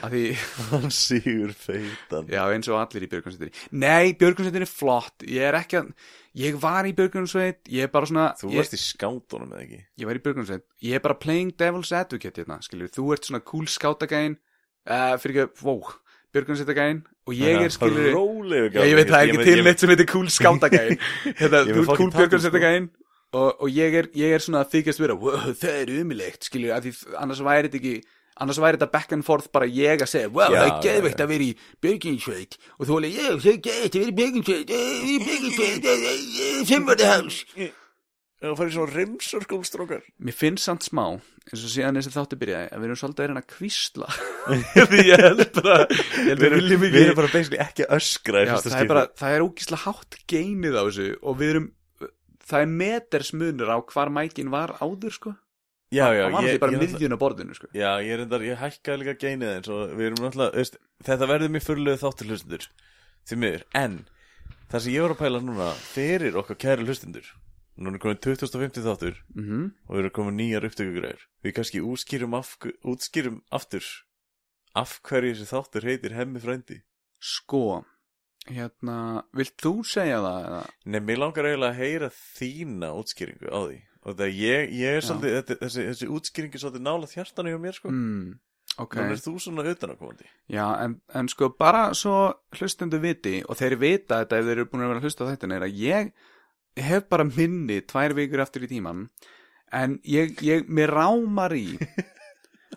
Speaker 3: Af því,
Speaker 2: hann sigur feitan
Speaker 3: já eins og allir í björgunarsveitinni Nei, björgunarsveitin er flott Ég er ekki að, ég var í björgunarsveit Ég er bara svona,
Speaker 2: þú
Speaker 3: ég,
Speaker 2: varst í skátunum eða ekki
Speaker 3: ég var í björgunarsveit Ég er bara playing devil's advocate hérna, skilur Þú ert svona cool skátagæin uh, Fyrir ekki, wow, björgunarsveitagæin Og ég er, skilur
Speaker 2: Rólegu
Speaker 3: Já, ég veit það er ekki til neitt sem heitir cool skándagæðin
Speaker 2: Ég
Speaker 3: Þetta,
Speaker 2: vil
Speaker 3: þú ert cool
Speaker 2: fucking tattoo, sko.
Speaker 3: björgunarsveitagæðin og, og ég er, ég er svona að þykjast vera wow, það er umilegt, skilur að því, annars væri þetta ekki annars væri þetta back and forth bara ég að segja wow,
Speaker 2: Já,
Speaker 3: það er
Speaker 2: já,
Speaker 3: geðveikt að vera í björgunarsveit og þú alveg, ég, það er geðveikt að vera í björgunarsveit eh, í björgunarsveit, eh, eh, eh, sem var það hans
Speaker 2: Það færi svo rimsur skumstrókar
Speaker 3: Mér finnst samt smá, eins og síðan þessi þáttu byrjaði að við erum svolítið að reyna að kvísla Því ég held bara ég held
Speaker 2: Við
Speaker 3: við
Speaker 2: erum
Speaker 3: viljum
Speaker 2: við
Speaker 3: ekki
Speaker 2: erum bara basically ekki að öskra í
Speaker 3: Já,
Speaker 2: fyrsta
Speaker 3: það er
Speaker 2: skipti.
Speaker 3: bara, það er ógíslega hátt geinið á þessu og við erum, það er metersmunur á hvar mækin var áður, sko
Speaker 2: Já, já,
Speaker 3: Það var
Speaker 2: ég,
Speaker 3: alltaf bara
Speaker 2: ég, ég,
Speaker 3: miðjun á borðinu, sko
Speaker 2: já, ég reyndar, ég hækkaði líka geinið eins og við erum náttúrulega, veist, þetta verður mér fyrirlega þáttur hlustundur, því miður, en það sem ég var að pæla núna fyrir okkar kæru hlustundur, núna er komin 2050 þáttur
Speaker 3: mm -hmm.
Speaker 2: og við erum komin nýjar upptökugræður, við kannski útskýrum, af, útskýrum aftur af hverju þessi þáttur heitir hemmi frændi.
Speaker 3: Sko, hérna, vilt þú segja það? Eða?
Speaker 2: Nei, mér langar eiginlega að heyra þína útskýringu á því og það ég, ég er
Speaker 3: Já.
Speaker 2: svolítið, þetta, þessi, þessi útskýringi svolítið nála hjartanu hjá mér sko mm,
Speaker 3: Mm, ok,
Speaker 2: Nú er þú svona utanakomandi
Speaker 3: já, en, en sko, bara svo hlustundu viti og þeir vita þetta ef þeir eru búin að vera að hlusta á þetta er að ég hef bara minni tvær vikur aftur í tíman en ég, ég, mér rámar í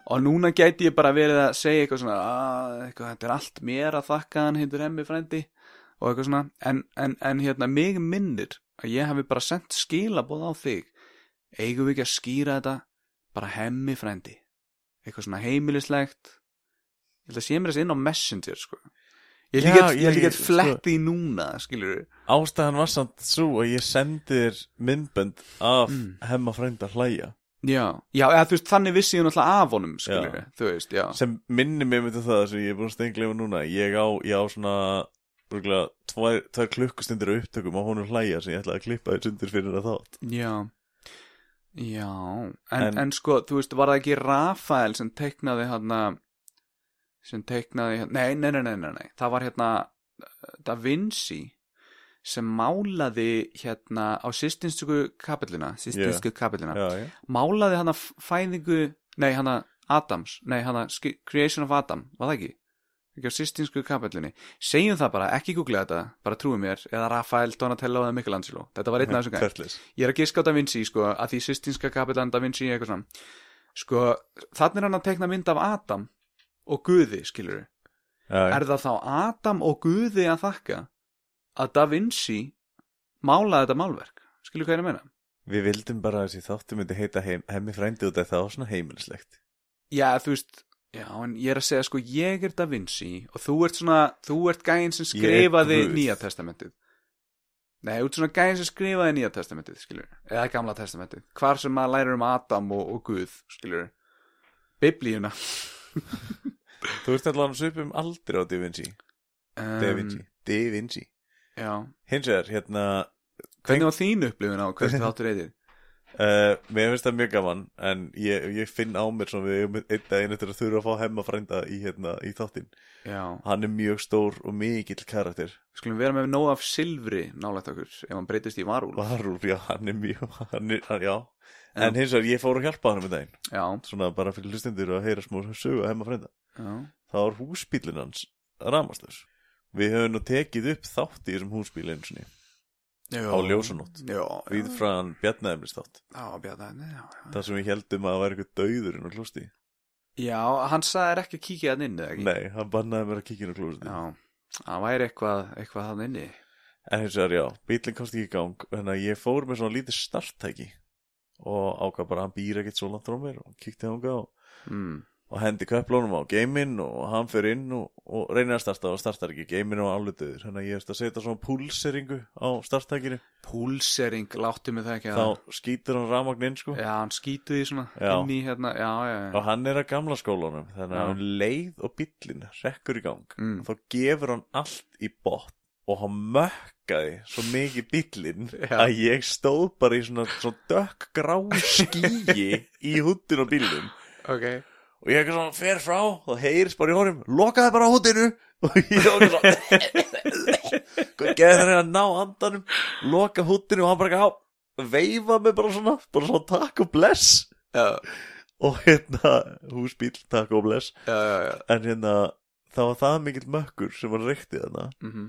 Speaker 3: og núna gæti ég bara verið að segja eitthvað svona "Ah, eitthvað, þetta er allt mér að þakka hann hindur hemmi frendi og eitthvað svona en, en, en hérna, mig minnir að ég hafi bara sendt skilabóð á þig eigum við ekki að skýra þetta bara hemmi frendi eitthvað svona heimilislegt ég held að sé mér þess inn á Messenger sko ég
Speaker 2: Já,
Speaker 3: held ekki
Speaker 2: ég-
Speaker 3: að, að
Speaker 2: sko-
Speaker 3: fletti í núna skilur við
Speaker 2: Ástæðan var samt svo að ég sendi þér myndbönd af
Speaker 3: Mm.
Speaker 2: hemma frænda hlæja
Speaker 3: Já, já eða, þú veist, þannig vissi ég náttúrulega af honum, skilur
Speaker 2: Já.
Speaker 3: þú veist, já.
Speaker 2: sem minni mér myndi það sem ég er búin að stenglefa núna ég á, ég á svona rúglega, tvær, tvær klukkustundir á upptökum á honum hlæja sem ég ætlaði að klippa þér sundur fyrir að þátt
Speaker 3: Já, já, en,
Speaker 2: En-
Speaker 3: en, sko, þú veist, var það ekki Rafael sem teiknaði hérna, sem teiknaði, hérna- nei, nei, nei, nei, nei, nei, það var hérna eh, Da Vinci sem málaði hérna á sýstinsku kapillina, sýstinsku yeah. kapillina,
Speaker 2: Já, já,
Speaker 3: málaði hann að fæðingu, nei, hann að Adams, nei hann að Creation of Adam, var það ekki? Ekki á sýstinsku kapellinni. Segjum það bara, ekki googla þetta, bara trúi mér, eða Rafael, Donatello eða Michelangelo. Þetta var einn af þessum gæm.
Speaker 2: Fertlis.
Speaker 3: Ég er að giska á Da Vinci, sko, að því sýstinska kapellan Da Vinci, eitthvað svona. Sko, þannig er hann að tekna mynd af Adam og Guði, skilur
Speaker 2: Já,
Speaker 3: er það þá Adam og Guði að þakka að Da Vinci málaði þetta málverk skilur hvað ég er að meina?
Speaker 2: Við vildum bara að þessi þáttu myndi heita heim, hemmi frændi út af það var svona heimilislegt
Speaker 3: Já, þú veist, já, en ég er að segja sko, ég er Da Vinci og þú ert svona, þú ert gæinn
Speaker 2: Ég
Speaker 3: sem
Speaker 2: er
Speaker 3: skrifaði
Speaker 2: Guð.
Speaker 3: nýja testamentið Nei, þú ert svona gæinn sem skrifaði nýja testamentið, skilur eða gamla testamentið, hvar sem maður lærir um Adam og, og Guð, skilur Biblíuna
Speaker 2: Þú ert allan svipum aldrei á Da Vinci
Speaker 3: um,
Speaker 2: Da Vinci, Da Vinci
Speaker 3: Já,
Speaker 2: Hins vegar, hérna
Speaker 3: hvernig var þín upplifun á hvernig þáttur eitthvað?
Speaker 2: uh, Mér finnst það mjög gaman En ég, ég finn á mér svona við eigum einn daginn eftir að þurfa að fá hemma frænda í, hérna, í þáttin
Speaker 3: Já,
Speaker 2: Hann er mjög stór og mikill karakter
Speaker 3: skulum vera með nóg af silfri nálægt okkur ef hann breytist í varúl
Speaker 2: Varúr, já, hann er mjög hann er, hann, Já, en hins vegar ég fór að hjálpa hann um daginn
Speaker 3: Já,
Speaker 2: Svona bara fyrir hlustendur að heyra smúr sögu að hemma frænda
Speaker 3: já,
Speaker 2: þá er húsbílinn hans rámastur. Við höfum nú tekið upp þátt í þessum húsbíl einu sinni
Speaker 3: já
Speaker 2: á ljósanótt,
Speaker 3: Já,
Speaker 2: við fræðan bjarnæðumlis þátt,
Speaker 3: já, Bjarni, já, já.
Speaker 2: þar sem við heldum að það væri eitthvað dauður inn á klústi.
Speaker 3: já, hann sagði þér ekki að kíkja hann inn eða ekki?
Speaker 2: Nei, hann bannaði mér að kíkja inn á klústi.
Speaker 3: Já, hann væri eitthvað, eitthvað hann inni
Speaker 2: En hins vegar, já, bílinn komst ekki í gang, þannig að ég fór með svona lítið starttæki og ákvað bara að hann býr ekkert svo langt frá mér og kíkti hann og,
Speaker 3: mm.
Speaker 2: og hendi köplunum á geiminn og hann fyrir inn og, og reynir að starta og startar ekki, geiminn og álituður, þannig að ég veist að setja svona púlseringu á starttækinu
Speaker 3: Púlsering, láttu mig það ekki að
Speaker 2: þá skýtur hann rafmagn inn sko
Speaker 3: Já, hann skýtu því svona
Speaker 2: Já.
Speaker 3: inn í hérna Já, já, já,
Speaker 2: og hann er að gamla skólanum þannig
Speaker 3: Já.
Speaker 2: að hann leið og bíllinn rekkur í gang
Speaker 3: Mm.
Speaker 2: þá gefur hann allt í botn og hann mökkaði svo mikið bíllinn
Speaker 3: Já.
Speaker 2: að ég stóð bara í svona, svona dökk grá skýi í húttinu á bílnum
Speaker 3: ok
Speaker 2: og ég ekki svona fer frá og heyrist bara í honum lokaði bara á húttinu og ég ekki svona hvað getur hann að ná andanum loka húttinu og hann bara ekki á veifa mig bara svona bara svona takk og bless
Speaker 3: Já,
Speaker 2: og hérna húsbíl, takk og bless
Speaker 3: já, já, já.
Speaker 2: en hérna það var það mikill mökkur sem var reykti þarna
Speaker 3: Mhm.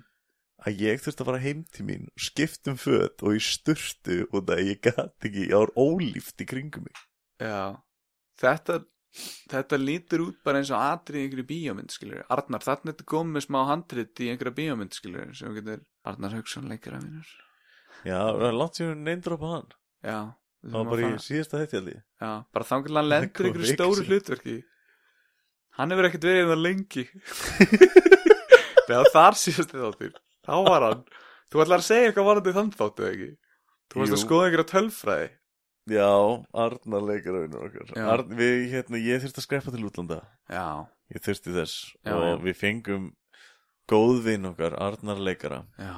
Speaker 2: að ég þurfti að fara heim til mín skiptum föt og ég sturtu og það ég gat ekki, ég var ólíft í kringum mig
Speaker 3: já Þetta Þetta lítur út bara eins og atrið í einhverju bíómynd, skilur Arnar, þarna ertu komið með smá handrit í einhverju bíómynd, skilur sem þú getur Arnar Hauksson leikir að vinur
Speaker 2: já, það er langt sem við neindrópa hann
Speaker 3: Já, við
Speaker 2: það var
Speaker 3: þurfum að
Speaker 2: bara
Speaker 3: fara.
Speaker 2: í síðasta þætti allir
Speaker 3: Já, bara þangar hann
Speaker 2: Það er
Speaker 3: lendur ykkur
Speaker 2: korrekt.
Speaker 3: stóru hlutverki Hann hefur ekkert verið það lengi Þegar þar síðast þáttir Þá var hann Þú ætlar að segja eitthvað varandi þann þáttu eða ekki Þú varst að
Speaker 2: Jú.
Speaker 3: skoða einhverja tölfræði
Speaker 2: já, Arnar leikar auðvitað okkar
Speaker 3: Já.
Speaker 2: Arn, við, hérna, ég þurfti að skrepa til útlanda
Speaker 3: Já,
Speaker 2: ég þurfti þess
Speaker 3: Já,
Speaker 2: og
Speaker 3: já.
Speaker 2: við fengum góðvinn okkar, Arnar leikara
Speaker 3: já,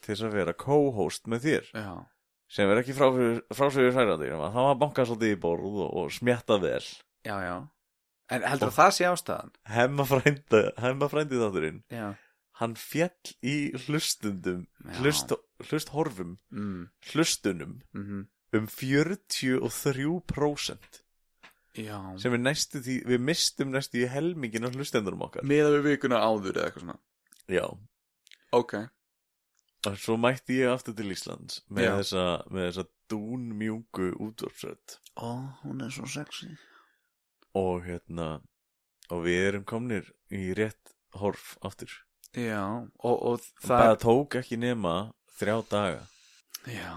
Speaker 2: til þess að vera co-host með þér
Speaker 3: já
Speaker 2: sem er ekki frásögur særandi nema það var bankað svolítið í borð og, og smjatta vel
Speaker 3: Já, já En heldur það sé ástæðan?
Speaker 2: hemma frænda, hemma frændi þátturinn
Speaker 3: Já,
Speaker 2: hann fjall í hlustundum
Speaker 3: Já.
Speaker 2: hlust, hlusthorfum,
Speaker 3: mm,
Speaker 2: hlustunum
Speaker 3: mm
Speaker 2: um 43%
Speaker 3: já.
Speaker 2: sem er næstu því, við mistum næstu í helmingin af hlustendurum okkar
Speaker 3: Meða við vikuna áður eða eitthvað svona
Speaker 2: já,
Speaker 3: Ok,
Speaker 2: og svo mætti ég aftur til Íslands með
Speaker 3: Já.
Speaker 2: þessa, með þessa dúnmjúku útvarpsrödd
Speaker 7: Ó, hún er svo sexy
Speaker 2: og hérna og við erum komnir í rétt horf aftur
Speaker 3: já Og, og
Speaker 2: það
Speaker 3: það
Speaker 2: bara tók ekki nema þrjá daga
Speaker 3: Já,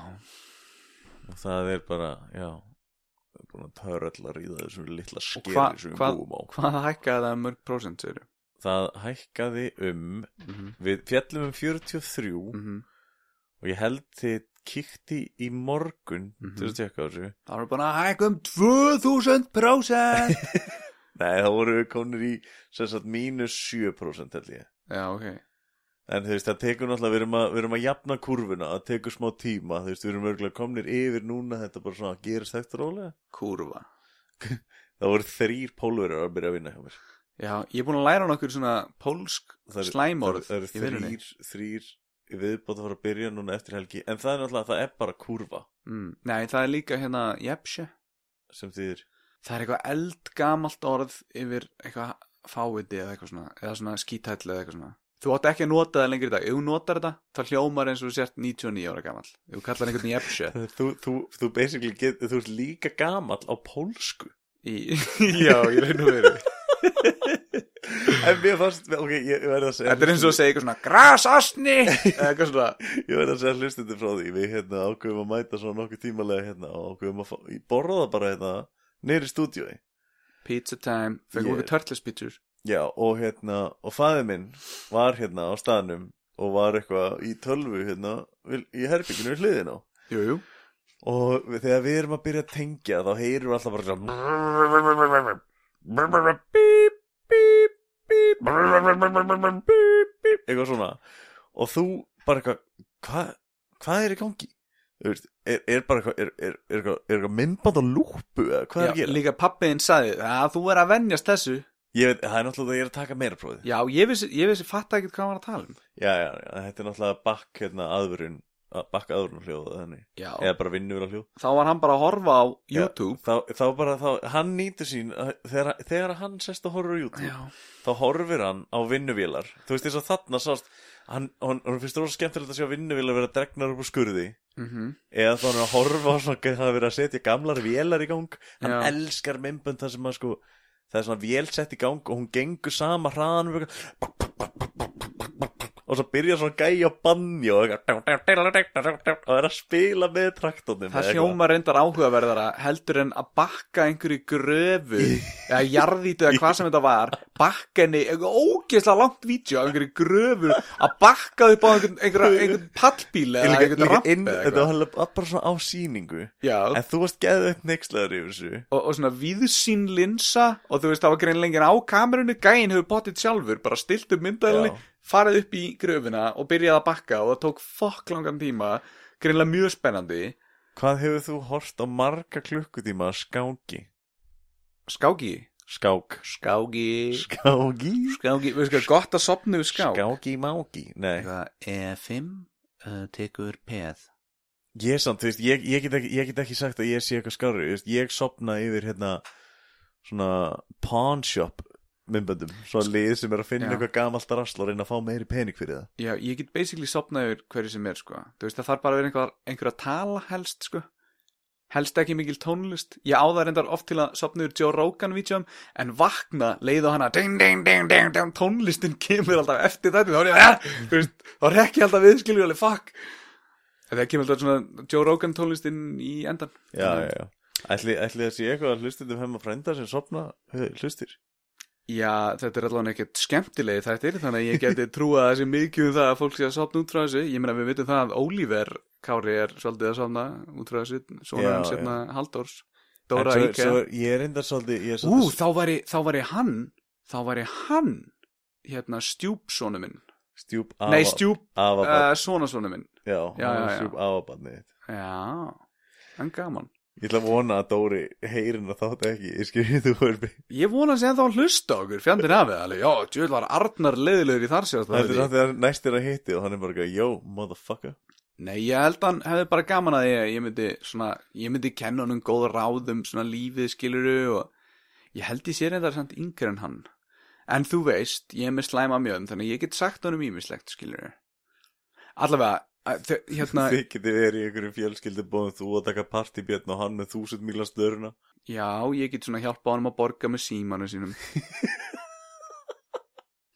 Speaker 2: og það er bara, já við erum búin að törrallar í það þessum litla skeri
Speaker 3: hva-
Speaker 2: sem við
Speaker 3: hva-
Speaker 2: búum á
Speaker 3: hvað hækkaði það mörg prósent, segir
Speaker 2: það hækkaði um
Speaker 3: Mhm.
Speaker 2: við fjallum um 43
Speaker 3: Mhm.
Speaker 2: og ég held þið kíkti í morgun
Speaker 3: Mhm.
Speaker 2: til að tjekka á þessu
Speaker 3: Það voru búin að hækka um 2000%
Speaker 2: nei, það voru við konir í sem sagt mínus 7% held ég
Speaker 3: Já, ok
Speaker 2: En þú veist, það tekur náttúrulega, við erum að, við erum að jafna kurvuna, það tekur smá tíma, þú veist, við erum örgulega komnir yfir núna, þetta bara svona gerist hægt og rólega.
Speaker 3: Kúrfa
Speaker 2: Það voru þrýr pólverjar að byrja að vinna hjá mér.
Speaker 3: Já, ég er búin að læra nokkur svona pólsk
Speaker 2: Það eru-
Speaker 3: slæmorð
Speaker 2: Það eru
Speaker 3: í vinnunni
Speaker 2: þrýr, þrýr viðbótt að fara að byrja núna eftir helgi, en það er náttúrulega, það er bara kurva
Speaker 3: mm. Nei, það er líka hérna jepsje
Speaker 2: sem þýðir.
Speaker 3: það er eitthvað eldgamalt orð yfir eitthvað fáviti eða eitthvað svona eða svona skítæll eða eitthvað svona þú átt ekki að nota það lengur í dag, ef þú notar þetta þá hljómar eins og þú sért 99 ára gamall ef þú kallar einhvern jefnsjö
Speaker 2: Þú, þú, þú basically get, þú ert líka gamall á pólsku
Speaker 3: í... já, ég reyna að vera
Speaker 2: En mér fannst, ok, ég verði að segja
Speaker 3: þetta er eins og að segja eitthvað svona grasasni eða eitthvað svona
Speaker 2: Ég verði að segja hlustundir frá því Við hérna ákveðum að mæta svo nokkuð tímalega hérna og ákveðum að fá, ég borða það bara hérna niður í stúdíói
Speaker 3: pizza time, fengum
Speaker 2: Ég-
Speaker 3: okkur turtles pítsur
Speaker 2: Já, og hérna, og fæði minn var hérna á staðnum og var eitthvað í tölvu hérna vil- í herbygginu við hliðin á
Speaker 3: jú, jú,
Speaker 2: og við- þegar við erum að byrja að tengja þá heyrum við alltaf bara svona eitthvað svona og þú bara eitthvað hvað hva er í gangi? Þú Veist, er, er bara eitthvað er, er, er eitthvað, er eitthvað myndband á lúpu eða hvað er
Speaker 3: já,
Speaker 2: að gera?
Speaker 3: líka pappiðin sagði að þú er að venjast þessu
Speaker 2: Ég veit, það er náttúrulega að ég er að taka meira prófið
Speaker 3: já, ég vissi, ég vissi fatta ekkert hvað hann var að tala um
Speaker 2: Já, já, já, þetta er náttúrulega bakk hérna aðvörun, bakk aðvörun hljóð þannig,
Speaker 3: já,
Speaker 2: eða bara vinnur á hljóð
Speaker 3: þá var hann bara að horfa á YouTube
Speaker 2: þá, þá bara, þá, hann nýtur sín að- þegar, þegar hann sest og horfur á YouTube þá horfir hann á vinnuvílar þú veist þess að þarna sást hann, hann, hann finnst rosa skemmtilegt að sjá vinnuvílar vera dregnar upp úr skurði
Speaker 3: Mhm.
Speaker 2: eða þá hann er að horfa á svona það er verið að setja gamlar vélar í gang hann
Speaker 3: Já.
Speaker 2: elskar minnbönd þar sem að sko það er svona vélsett í gang og hún gengur sama hraðan og eitthvað- og svo byrjar svona gæja að bannja og, eitthvað- og er að spila með traktornum
Speaker 3: það
Speaker 2: eða eitthvað.
Speaker 3: sjóma reyndar áhugaverðara heldur en að bakka einhverju gröfu eða jarðítu eða hvað sem þetta var bakka henni, eitthvað ógeðslega langt vídeo af einhverju gröfu að bakka upp á einhvern, einhverju, einhvern pallbíl
Speaker 2: Ég
Speaker 3: eða
Speaker 2: líka-
Speaker 3: einhvern
Speaker 2: líka
Speaker 3: ramp
Speaker 2: inn-
Speaker 3: eða
Speaker 2: Þetta
Speaker 3: eitthvað
Speaker 2: var alveg bara svona á sýningu
Speaker 3: já,
Speaker 2: En þú varst geðið upp neykslaður yfir þessu
Speaker 3: og, og svona víðsýn linsa og þú veist það var greinlegin á kamerunni gæin hefur potið sjálfur, bara stilt upp myndaðinni
Speaker 2: Já.
Speaker 3: farið upp í gröfuna og byrjaði að bakka og það tók fokk langan tíma greinlega mjög spennandi
Speaker 2: Hvað hefur þú hort á marga klukkutíma að skáki?
Speaker 3: skáki
Speaker 2: Skák
Speaker 3: skáki
Speaker 2: Skáki?
Speaker 3: skáki, við sko, gott að sopna við skák
Speaker 2: Skáki máki Nei,
Speaker 4: E5 uh, tekur peð
Speaker 2: ég samt, þú veist, ég, ég, get ekki, ég get ekki sagt að ég sé eitthvað skári þú veist, Ég sopna yfir hérna svona pawn shop myndböndum Svo lið sem er að finna
Speaker 3: Já.
Speaker 2: eitthvað gamalt rasl og reyna að fá meiri pening fyrir það
Speaker 3: já, ég get basically sopnað yfir hverju sem er sko, þú veist það þarf bara að vera einhver, einhver að tala helst sko helst ekki mikil tónlist, ég á það reyndar oft til að sopna yfir Joe Rogan vítjum en vakna, leið á hana ding, ding, ding, ding, ding, tónlistin kemur alltaf eftir þetta, þá er ég "Ah!" Þú veist, þá er ekki alltaf viðskilur, alveg fuck en það kemur alltaf svona Joe Rogan tónlistin í endan
Speaker 2: Já, já, já Ætli, ætli það sé eitthvað að hlustundum hefum að frænda sem sopna eh, hlustir
Speaker 3: Já, þetta er allavega ekkert skemmtilegi þættir þannig að ég geti trúa þessi mikið um það að fólk sé að sofna út frá þessu ég meina við vitum það að Ólífer Kári er svolítið að sofna út frá þessu svona
Speaker 2: Já,
Speaker 3: hann sérna Halldórs
Speaker 2: En
Speaker 3: Dóra
Speaker 2: svo,
Speaker 3: Íke
Speaker 2: svo, Ég er enda svolítið ég er
Speaker 3: Ú,
Speaker 2: svolítið-
Speaker 3: þá væri, þá væri hann þá væri hann hérna stjúpsonu minn
Speaker 2: Stjúp
Speaker 3: Nei,
Speaker 2: afa-
Speaker 3: stjúp
Speaker 2: afabarn,
Speaker 3: uh, sonasonu minn
Speaker 2: já,
Speaker 3: já,
Speaker 2: hann var
Speaker 3: já, já.
Speaker 2: stjúp afabarnið þitt.
Speaker 3: Já, en gaman
Speaker 2: Ég ætla að vona að Dóri heyrin að þátt ekki Ég skil þú er
Speaker 3: Ég vona sem þá hlusta á okkur fjandinn af við alveg, já, djöld var Arnar leiðilegur í þar sér
Speaker 2: Það er samt þegar næstir að hitti og hann er bara eitthvað, Yo, motherfucker
Speaker 3: Nei, ég held hann hefði bara gaman að ég, ég myndi svona, ég myndi kenna honum góð ráðum svona lífið skiluru og ég held ég sér þetta samt yngri en hann. En þú veist, ég er með slæma mjöðum þannig að ég get sagt honum ímislegt skiluru. Allavega, að þau- hérna,
Speaker 2: Þið getið verið í einhverjum fjölskyldu bóðum þú að taka partybjörn og hann með þúsund míla störuna
Speaker 3: já, ég get svona hjálpa honum að borga með símanu sínum.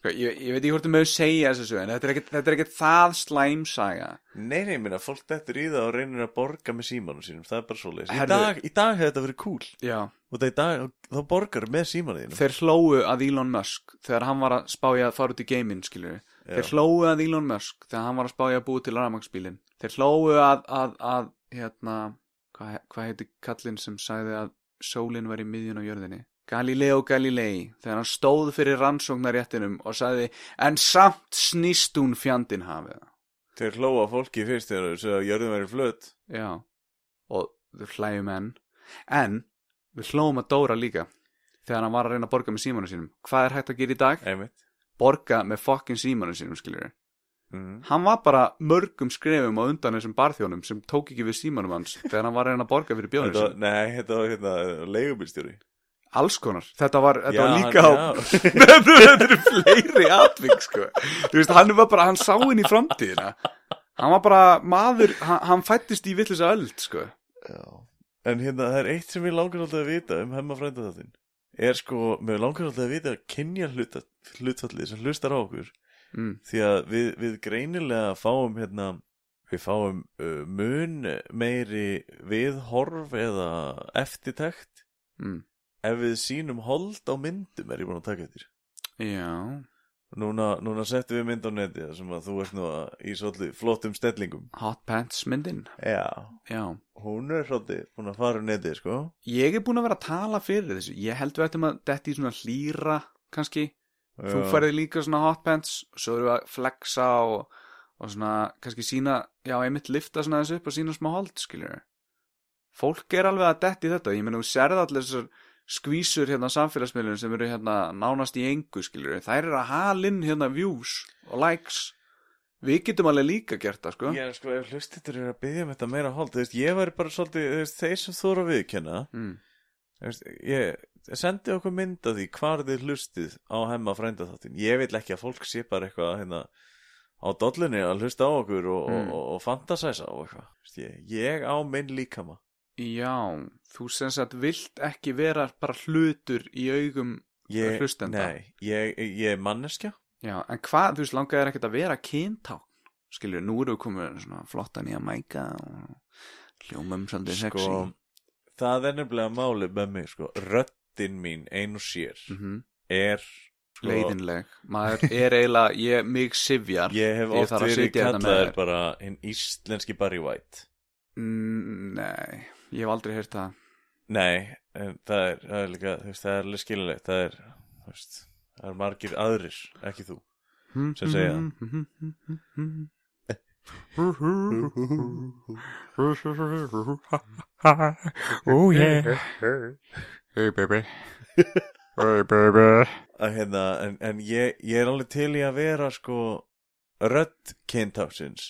Speaker 3: Sko, ég, ég veit ekki hvort þú mögur segja þessu, en þetta er ekkert- þetta er ekkert það slæmsaga.
Speaker 2: Nei, nei, minna, fólk dettur í það og reynir að borga með símanum sínum Það er bara svoleiðis Í
Speaker 3: Herðu.
Speaker 2: dag, í dag hefði þetta verið cool
Speaker 3: Já.
Speaker 2: Og það í dag, þá borgar með símanum þínum
Speaker 3: þeir hlóu að Elon Musk þegar hann var að spája að fara út í geiminn skilur
Speaker 2: Já.
Speaker 3: þeir hlóu að Elon Musk þegar hann var að spája að búi til rafmagsbílin þeir hlóu að, að, að hérna, hvað hva heiti kallinn sem sagði að sólinn var í miðjun á jörðinni Galileo Galilei þegar hann stóð fyrir rannsóknaréttinum og sagði en samt snýst hún fjandinn hafið
Speaker 2: Þeir hlóa fólki fyrst þegar þau að jörðum verið flöt
Speaker 3: já og þau hlæjum enn en við hlóum að Dóra líka þegar hann var að reyna að borga með símanu sínum hvað er hægt að gera í dag?
Speaker 2: Einmitt
Speaker 3: borga með fokkin símanum sínum skiljur
Speaker 2: mm.
Speaker 3: hann var bara mörgum skrefum á undan þessum barþjónum sem tók ekki við símanum hans þegar hann var að reyna að borga fyrir bjóðinu
Speaker 2: þetta,
Speaker 3: sínum
Speaker 2: Nei, þetta var hérna, leigubílstjóri
Speaker 3: alls konar þetta var, þetta var líka á
Speaker 2: já.
Speaker 3: þetta þetta eru fleiri atvik sko. þú veist, hann var bara, hann sá inn í framtíðina hann var bara maður, hann, hann fættist í villisa öld sko.
Speaker 2: En hérna, það er eitt sem ég langar alltaf að vita um hemma frænda þáttinn er sko, mér langar alltaf að vita að kynja hlutfallið sem hlustar á okkur
Speaker 3: mm.
Speaker 2: því að við, við greinilega fáum hérna við fáum uh, mun meiri viðhorf eða eftirtækt
Speaker 3: Mm.
Speaker 2: ef við sýnum hold á myndum er ég búin að taka eftir
Speaker 3: já,
Speaker 2: núna, núna settum við mynd á neti þar sem að þú ert nú að í svolítið flottum stellingum
Speaker 3: hot pants myndin
Speaker 2: já,
Speaker 3: já,
Speaker 2: hún er svolítið búin að fara á neti sko
Speaker 3: ég er búin að vera að tala fyrir þessu ég held við ættum að detti í svona hlýra kannski, þú
Speaker 2: Já.
Speaker 3: færði líka svona hot pants, svo erum við að flexa og, og svona, kannski sína já, einmitt lifta svona þessu upp og sína smá hold skiljur fólk er alveg að detti í þetta, ég meina þú sérði allir þessar skvísur hérna á samfélagsmiðlunum sem eru hérna nánast í engu skiljur þær eru að halinn hérna views og likes, við getum alveg líka gert það sko
Speaker 2: Já, sko, ef hlustendur eru að byggja um þetta meira hold, þú veist, ég væri bara svolítið, þú veist, þeir sem þóra viðkjanna,
Speaker 3: mm.
Speaker 2: þú veist, ég sendi okkur mynd af því hvar þið hlustið á hemma frænda þáttin. Ég vil ekki að fólk sé bara eitthvað hérna á dollunni að hlusta á okkur og,
Speaker 3: Mm.
Speaker 2: og, og, og fantasæsa og eitthvað. Þú veist, Ég, ég á minn líkama.
Speaker 3: Já, þú sem sagt vilt ekki vera bara hlutur í augum
Speaker 2: Ég,
Speaker 3: Hlustenda.
Speaker 2: Nei, ég, ég er manneskja.
Speaker 3: Já, en hvað, þú veist, langaði ekkert að vera kyntákn Skilju, nú erum við komið með svona flotta nýja mæka og hljómum svolítið sexy
Speaker 2: Sko, það er nefnilega málið með mig, sko. Röttin mín ein og sér
Speaker 3: Mhm,
Speaker 2: er, sko,
Speaker 3: Leiðinleg, maður er eiginlega, ég, mig sifjar
Speaker 2: Ég hef
Speaker 3: Ég
Speaker 2: oft
Speaker 3: þarf að
Speaker 2: verið
Speaker 3: sitja hérna með
Speaker 2: kallaðir
Speaker 3: þér.
Speaker 2: bara hinn íslenski Barry White.
Speaker 3: Mm, Nei, ég hef aldrei heyrt það
Speaker 2: Nei, en það er, það er líka, þú veist, það er alveg skilulegt, það er, þú veist, það er margir aðrir, ekki þú. Sem
Speaker 3: Mhm,
Speaker 2: segja
Speaker 8: Oh yeah Hey baby Hey baby
Speaker 2: Að hérna, en, en ég, ég er alveg til í að vera, sko, rödd kyntáksins,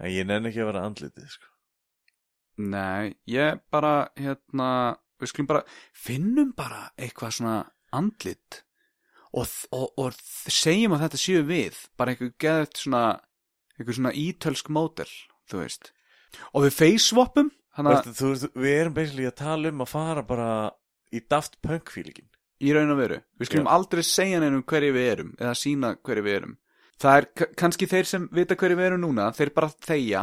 Speaker 2: en ég nenni ekki að vera andlitið, sko.
Speaker 3: Nei, ég bara, hérna, við skulum bara, finnum bara eitthvað svona andlit og, þ- og, og þ- segjum að þetta séu við, bara eitthvað geðt svona, eitthvað svona ítölsk mótel, þú veist. Og við face-swappum,
Speaker 2: Þú
Speaker 3: þannig að
Speaker 2: veist, þú veist, við erum basically að tala um að fara bara í daft punk-fílingin.
Speaker 3: í raun og veru, við skulum
Speaker 2: Já.
Speaker 3: aldrei segja neinum hverju við erum eða sína hverju við erum. Það er ka- kannski þeir sem vita hverju við erum núna, þeir bara þegja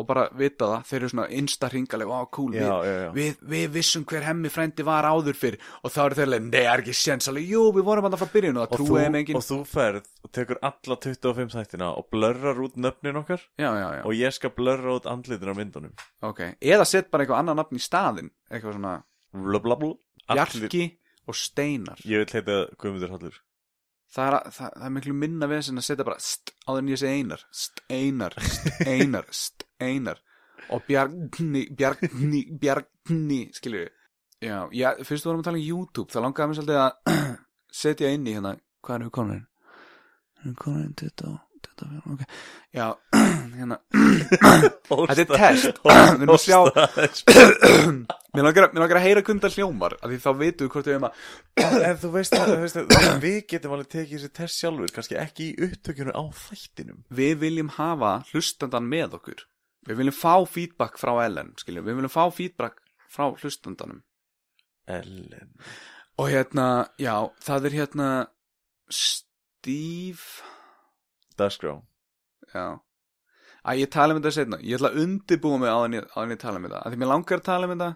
Speaker 3: og bara vita það, þeir eru svona insta hringaleg, á, cool, við,
Speaker 2: Já, já, já.
Speaker 3: við, við vissum hver hemmi frændi var áður fyrr og þá eru þeir leið, nei, er ekki séns alveg, jú, við vorum alltaf frá byrjun og það
Speaker 2: Og þú,
Speaker 3: trúið þeim engin
Speaker 2: og þú ferð og tekur alla 25 þættina og blörrar út nöfnin okkar
Speaker 3: já, já, já,
Speaker 2: og ég skal blörra út andlitin á myndunum.
Speaker 3: ok, eða sett bara eitthvað annan nafn í staðinn, eitthvað svona
Speaker 2: Bla, bla, bla. Allir-
Speaker 3: Bjarki og Steinar
Speaker 2: Ég vil heita Guðmundur Hallur
Speaker 3: það er, að- það, það er miklu minna við sem að setja bara st, áður en ég segi Einar Steinar, Steinar, Steinar og Bjarni, Bjarni, Bjarni skilur við já, já, fyrst þú vorum að tala um YouTube það langaði mér svolítið að setja inn í hérna hvað eru konurinn? Eru konurinn 20, 24, ok já, hérna Þetta er test. Við erum að sjá- mér langar, að- mér langar að heyra kundar hljómar af því þá veitum við hvort við erum að
Speaker 2: En þú veist, það, þú veist það, við getum alveg tekið þessi test sjálfur kannski ekki í upptökjunum á þættinum
Speaker 3: við viljum hafa hlustandan með okkur við viljum fá feedback frá Ellen skiljum, við viljum fá feedback frá hlustandanum
Speaker 2: Ellen
Speaker 3: og hérna, já, það er hérna Steve
Speaker 2: Dagskrá
Speaker 3: já að ég tala um þetta setna, ég ætla að undibúa mig á hann ég, áður en ég tala um þetta, að því mér langar að tala um þetta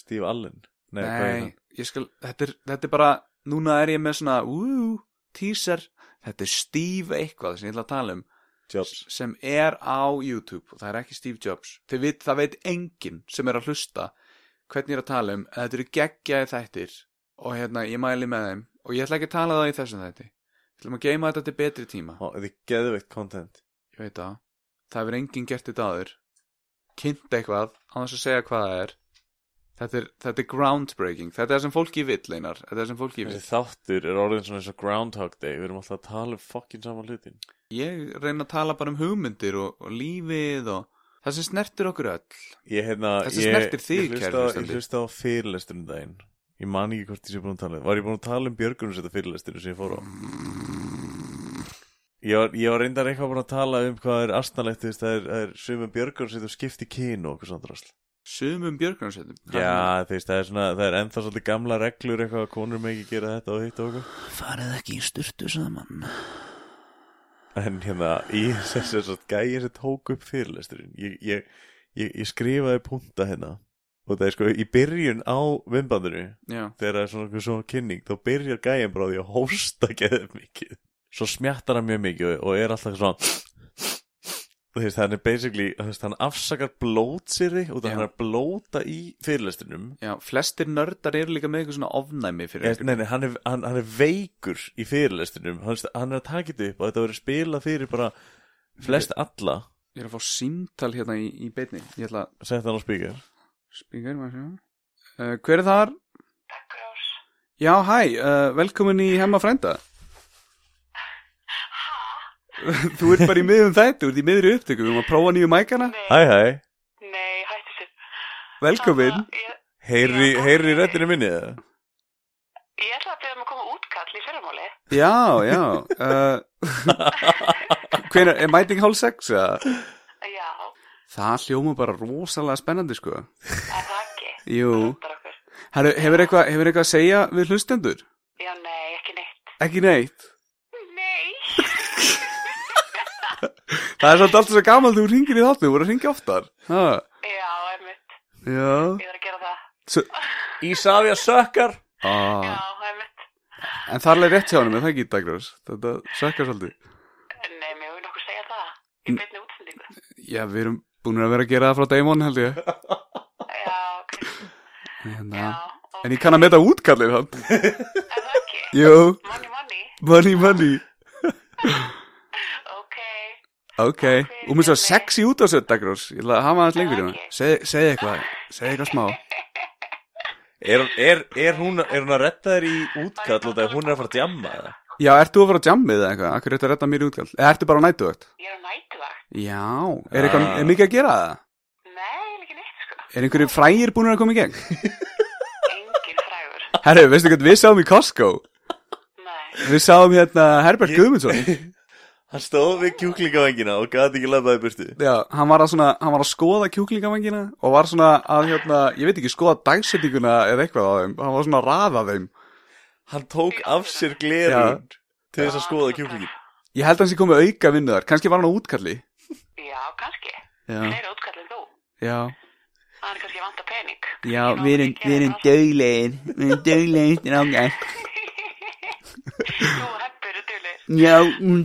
Speaker 2: Steve Allen Nei, hvað er
Speaker 3: Nei,
Speaker 2: það?
Speaker 3: ég skal, þetta er, þetta er bara núna er ég með svona, úú, teaser þetta er Steve eitthvað sem ég ætla að tala um
Speaker 2: Jobs
Speaker 3: sem er á YouTube og það er ekki Steve Jobs Þið vit, það veit enginn sem er að hlusta hvernig ég er að tala um en þetta eru geggjaði þættir og hérna ég mæli með þeim og ég ætla ekki að tala það í þessum þætti Við ætlum að geima þetta til betri tíma
Speaker 2: Ó, Þetta er geðveikt content
Speaker 3: ég veit það, það hefur enginn gert þetta aður kynnt eitthvað á þess að segja hvað það er þetta er, þetta er groundbreaking þetta er það sem fólki vill einar þetta er það sem fólki vill
Speaker 2: Þessi þáttur er orðin svona eins og Groundhog Day Við erum alltaf að tala um fokkin saman hlutin
Speaker 3: ég reyna að tala bara um hugmyndir og, og lífið og það sem snertir okkur öll
Speaker 2: Ég, hérna,
Speaker 3: Þessi
Speaker 2: ég,
Speaker 3: snertir þig,
Speaker 2: ég
Speaker 3: kæri
Speaker 2: hlusta,
Speaker 3: hlustandi.
Speaker 2: ég hlusta á fyrirlesturinn um daginn Ég man ekki hvort ég sé búin að tala um Var ég búin að tala um björgunum þetta fyrirlestinu sem ég fór á Ég var, ég var reyndar eitthvað búin að tala um hvað er astnalegt þú veist, það er, það er sumum björgunum sem þú skipti kynu og okkur svona drasl
Speaker 3: Sumum björgunarsveitum
Speaker 2: Já, þú veist, það er svona, það er ennþá svolítið gamla reglur eitthvað að konur með ekki gera þetta og hitt og okkur
Speaker 4: Farið ekki í styrtu saman
Speaker 2: En hérna, í þess að gæja sem tók upp fyrirlesturinn ég, ég, ég, ég skrifaði punta hérna og það er sko, í byrjun á vimbandinu
Speaker 3: Já,
Speaker 2: þegar það er svona, einhver svona kynning þá byrjar gæjan bara á því að hósta geðið mikið svo smjattar hann mjög mikið og- og er alltaf svona þú veist, hann er basically þú veist, hann afsakar blótsýri og það
Speaker 3: Já.
Speaker 2: hann er að blóta í fyrirlestunum
Speaker 3: já, flestir nördar eru líka með eitthvað svona ofnæmi fyrir
Speaker 2: Nei, nei, hann, er, hann, hann er veikur í fyrirlestunum hann, hann er að taka þetta upp og þetta verður spilað fyrir bara flest alla
Speaker 3: Ég er að fá símtal hérna í, í beinni Ég ætla að
Speaker 2: sett hann á spíkar
Speaker 3: spíka um að sjá uh, Hver er þar? Daggrós Já, hæ, uh, velkomin í Hemma frænda Þú ert bara í miðum þætti, þú ert í miðri upptöku Við erum að prófa nýju mækana
Speaker 2: Hæ, hæ,
Speaker 9: Nei, hættu sér.
Speaker 3: Velkomin
Speaker 9: Þannig að Ég,
Speaker 2: heyri, heyri rettinu minni eða?
Speaker 9: ég ætla að byrja um að koma útkall í fyrramáli.
Speaker 3: Já, já uh, Hvenær, er mæting hálf sex? eða?
Speaker 9: Já,
Speaker 3: Það hljóma bara rosalega spennandi sko
Speaker 9: er það ekki?
Speaker 3: Jú
Speaker 9: Rúndar okkur.
Speaker 3: Herru, hefur eitthvað hefur eitthvað að segja við hlustendur?
Speaker 9: Já, nei, ekki neitt.
Speaker 3: Ekki neitt
Speaker 9: Nei,
Speaker 3: Það er svolítið allt svo gaman þú ringir í þáttu, þú voru að ringja oftar ha,
Speaker 9: já, einmitt.
Speaker 3: Já
Speaker 9: Ég þarf að gera það.
Speaker 2: Ísafja sökkar
Speaker 9: Já,
Speaker 3: ah.
Speaker 9: einmitt.
Speaker 3: En það er alveg rétt hjá hann, er það ekki Dagrós? Þetta sökkar svolítið
Speaker 9: Nei, mér vil nokkuð segja það. Í beinni útsendingu.
Speaker 3: Já, við erum búin að vera að gera það frá Damon held ég
Speaker 9: Já, ok.
Speaker 3: hérna.
Speaker 9: Já, ok.
Speaker 3: En ég kann að meta útkallir hann
Speaker 9: Er það ekki?
Speaker 3: Jú,
Speaker 9: Money, money.
Speaker 3: money, money
Speaker 9: Ok.
Speaker 3: Ok, og mér svo sexy út á sér Dagrós Ég ætla að hafa aðeins lengur í hann Segð seg eitthvað, segð eitthvað smá
Speaker 2: Er, er, er, hún, er hún að retta þér í útkall og það er hún er að fara að djamma eða?
Speaker 3: Já, ert þú að fara á jammið eða eitthvað? Akkur ertu að redda mér í útkall? Eða ertu bara á nætuvögt?
Speaker 9: Ég er á nætuvakt.
Speaker 3: Já, er, eitthvað, er mikið að gera það?
Speaker 9: Nei, ekki neitt, sko.
Speaker 3: Er einhverju frægir búin að koma í gegn?
Speaker 9: Engin frægur.
Speaker 3: Herru, veistu hvað við sáum í Costco?
Speaker 9: Nei.
Speaker 3: Við sáum hérna Herbert Guðmundsson
Speaker 2: Hann stóð við kjúklingavengina og gæti ekki labbaði burtu
Speaker 3: Já, hann var að, svona, hann var að skoða kjúklingavangina og var svona að hérna, ég veit ekki, skoða dagsetninguna eða eitthvað á þeim Hann var svona að raða þeim
Speaker 2: Hann tók af sér glerun til þess að skoða kjúklingin
Speaker 3: Ég held að hann sé komið auka vinnu þar, kannski var hann á útkalli
Speaker 9: Já, kannski.
Speaker 3: Já,
Speaker 9: Fleiri útkall en þú.
Speaker 3: já
Speaker 9: Það er kannski vant að pening.
Speaker 3: Já,
Speaker 9: Ég má ekki gera það.
Speaker 4: döglegir Við erum döglegir strákar
Speaker 9: Nú heppur og dulir.
Speaker 4: Já,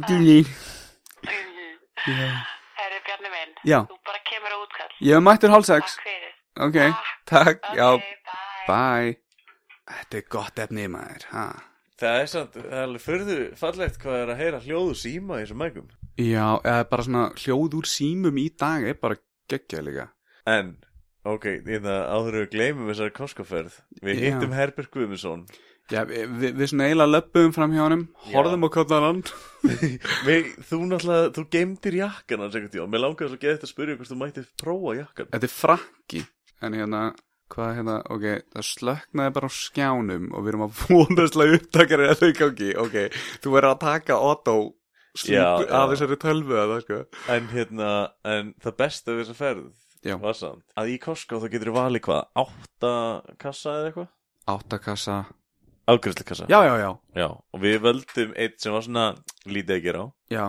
Speaker 4: döglegir
Speaker 9: Herri Bjarni minn,
Speaker 3: Já.
Speaker 9: þú bara kemur á útkall.
Speaker 3: Ég hef mættur hálf sex
Speaker 9: Takk fyrir.
Speaker 3: Ok, takk,
Speaker 9: Ok,
Speaker 3: já,
Speaker 9: bye.
Speaker 3: bye Þetta er gott efni maður, ha
Speaker 2: Það er samt, það er alveg fyrðu fallegt hvað er að heyra hljóðu síma í þessum mækum
Speaker 3: Já, eða bara svona hljóð úr símum í dag er bara geggjað líka
Speaker 2: En, ok, því það áður en við gleymum þessari koskoferð Við
Speaker 3: Já.
Speaker 2: hittum Herbert Guðmundsson
Speaker 3: Já, við, við, við svona eiginlega löppuðum fram hjá honum, horfðum á kollan hann.
Speaker 2: við, Þú náttúrulega, þú geymdir jakkan hans einhvern tíma Mér langar svo að geða þetta að spyrja hvort þú mættir prófa jakkan
Speaker 3: Þetta er frakki, en hérna, hvað hérna, ok, það slöknaði bara á skjánum og við erum að vonastlega upptakari að þau gangi, ok, þú verður að taka Otto
Speaker 2: Já,
Speaker 3: slíku
Speaker 2: já.
Speaker 3: að þessari tölvu að það, sko.
Speaker 2: En hérna, en það besta við þessa ferð
Speaker 3: Já.
Speaker 2: var samt Að í Costco þá getur þú valið hvað, átta kassa eða eitthvað?
Speaker 3: Áttakassa.
Speaker 2: Afgriðslukassa
Speaker 3: Já, já, já,
Speaker 2: Já, og við völdum eitt sem var svona lítið að gera á
Speaker 3: já,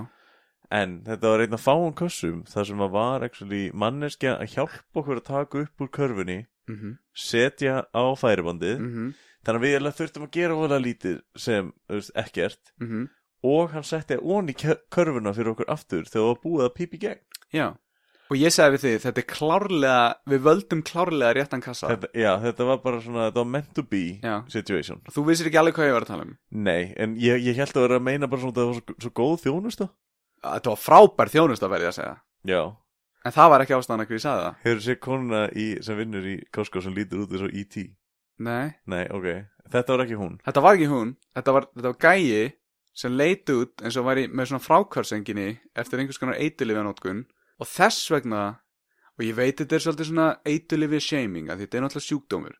Speaker 2: En þetta var einn að fáum kössum þar sem að var actually manneskja að hjálpa okkur að taka upp úr körfunni
Speaker 3: mhm,
Speaker 2: setja á færibandið
Speaker 3: mhm,
Speaker 2: þannig að við eiginlega þurftum að gera vola lítið sem þú veist, ekkert
Speaker 3: mhm,
Speaker 2: og hann setti on í kö- körfuna fyrir okkur aftur þegar það var búið að pípi gegn
Speaker 3: já. Og ég sagði við þið, þetta er klárlega, við völdum klárlega réttan kassa.
Speaker 2: þetta, Já, þetta var bara svona, þetta var meant to be
Speaker 3: Já.
Speaker 2: situation
Speaker 3: Þú vissir ekki alveg hvað ég var að tala um.
Speaker 2: Nei, en ég, ég held að vera að meina bara svona að það var svo, svo góð þjónusta
Speaker 3: Þetta var frábær þjónust að verði að segja.
Speaker 2: Já,
Speaker 3: En það var ekki ástæðan að hverju ég sagði það.
Speaker 2: hefur séð konuna í, sem vinnur í Costco sem lítur út eins og E.T.
Speaker 3: Nei.
Speaker 2: Nei, ok, þetta var ekki hún
Speaker 3: Þetta var ekki hún, þetta var, þetta var gæi sem leit út eins og væri með svona frákvarsenginni eftir einhvers konar eitilifjanótkun og þess vegna, og ég veit þetta er svolítið svona eitilifi shaming að þetta er náttúrulega sjúkdómur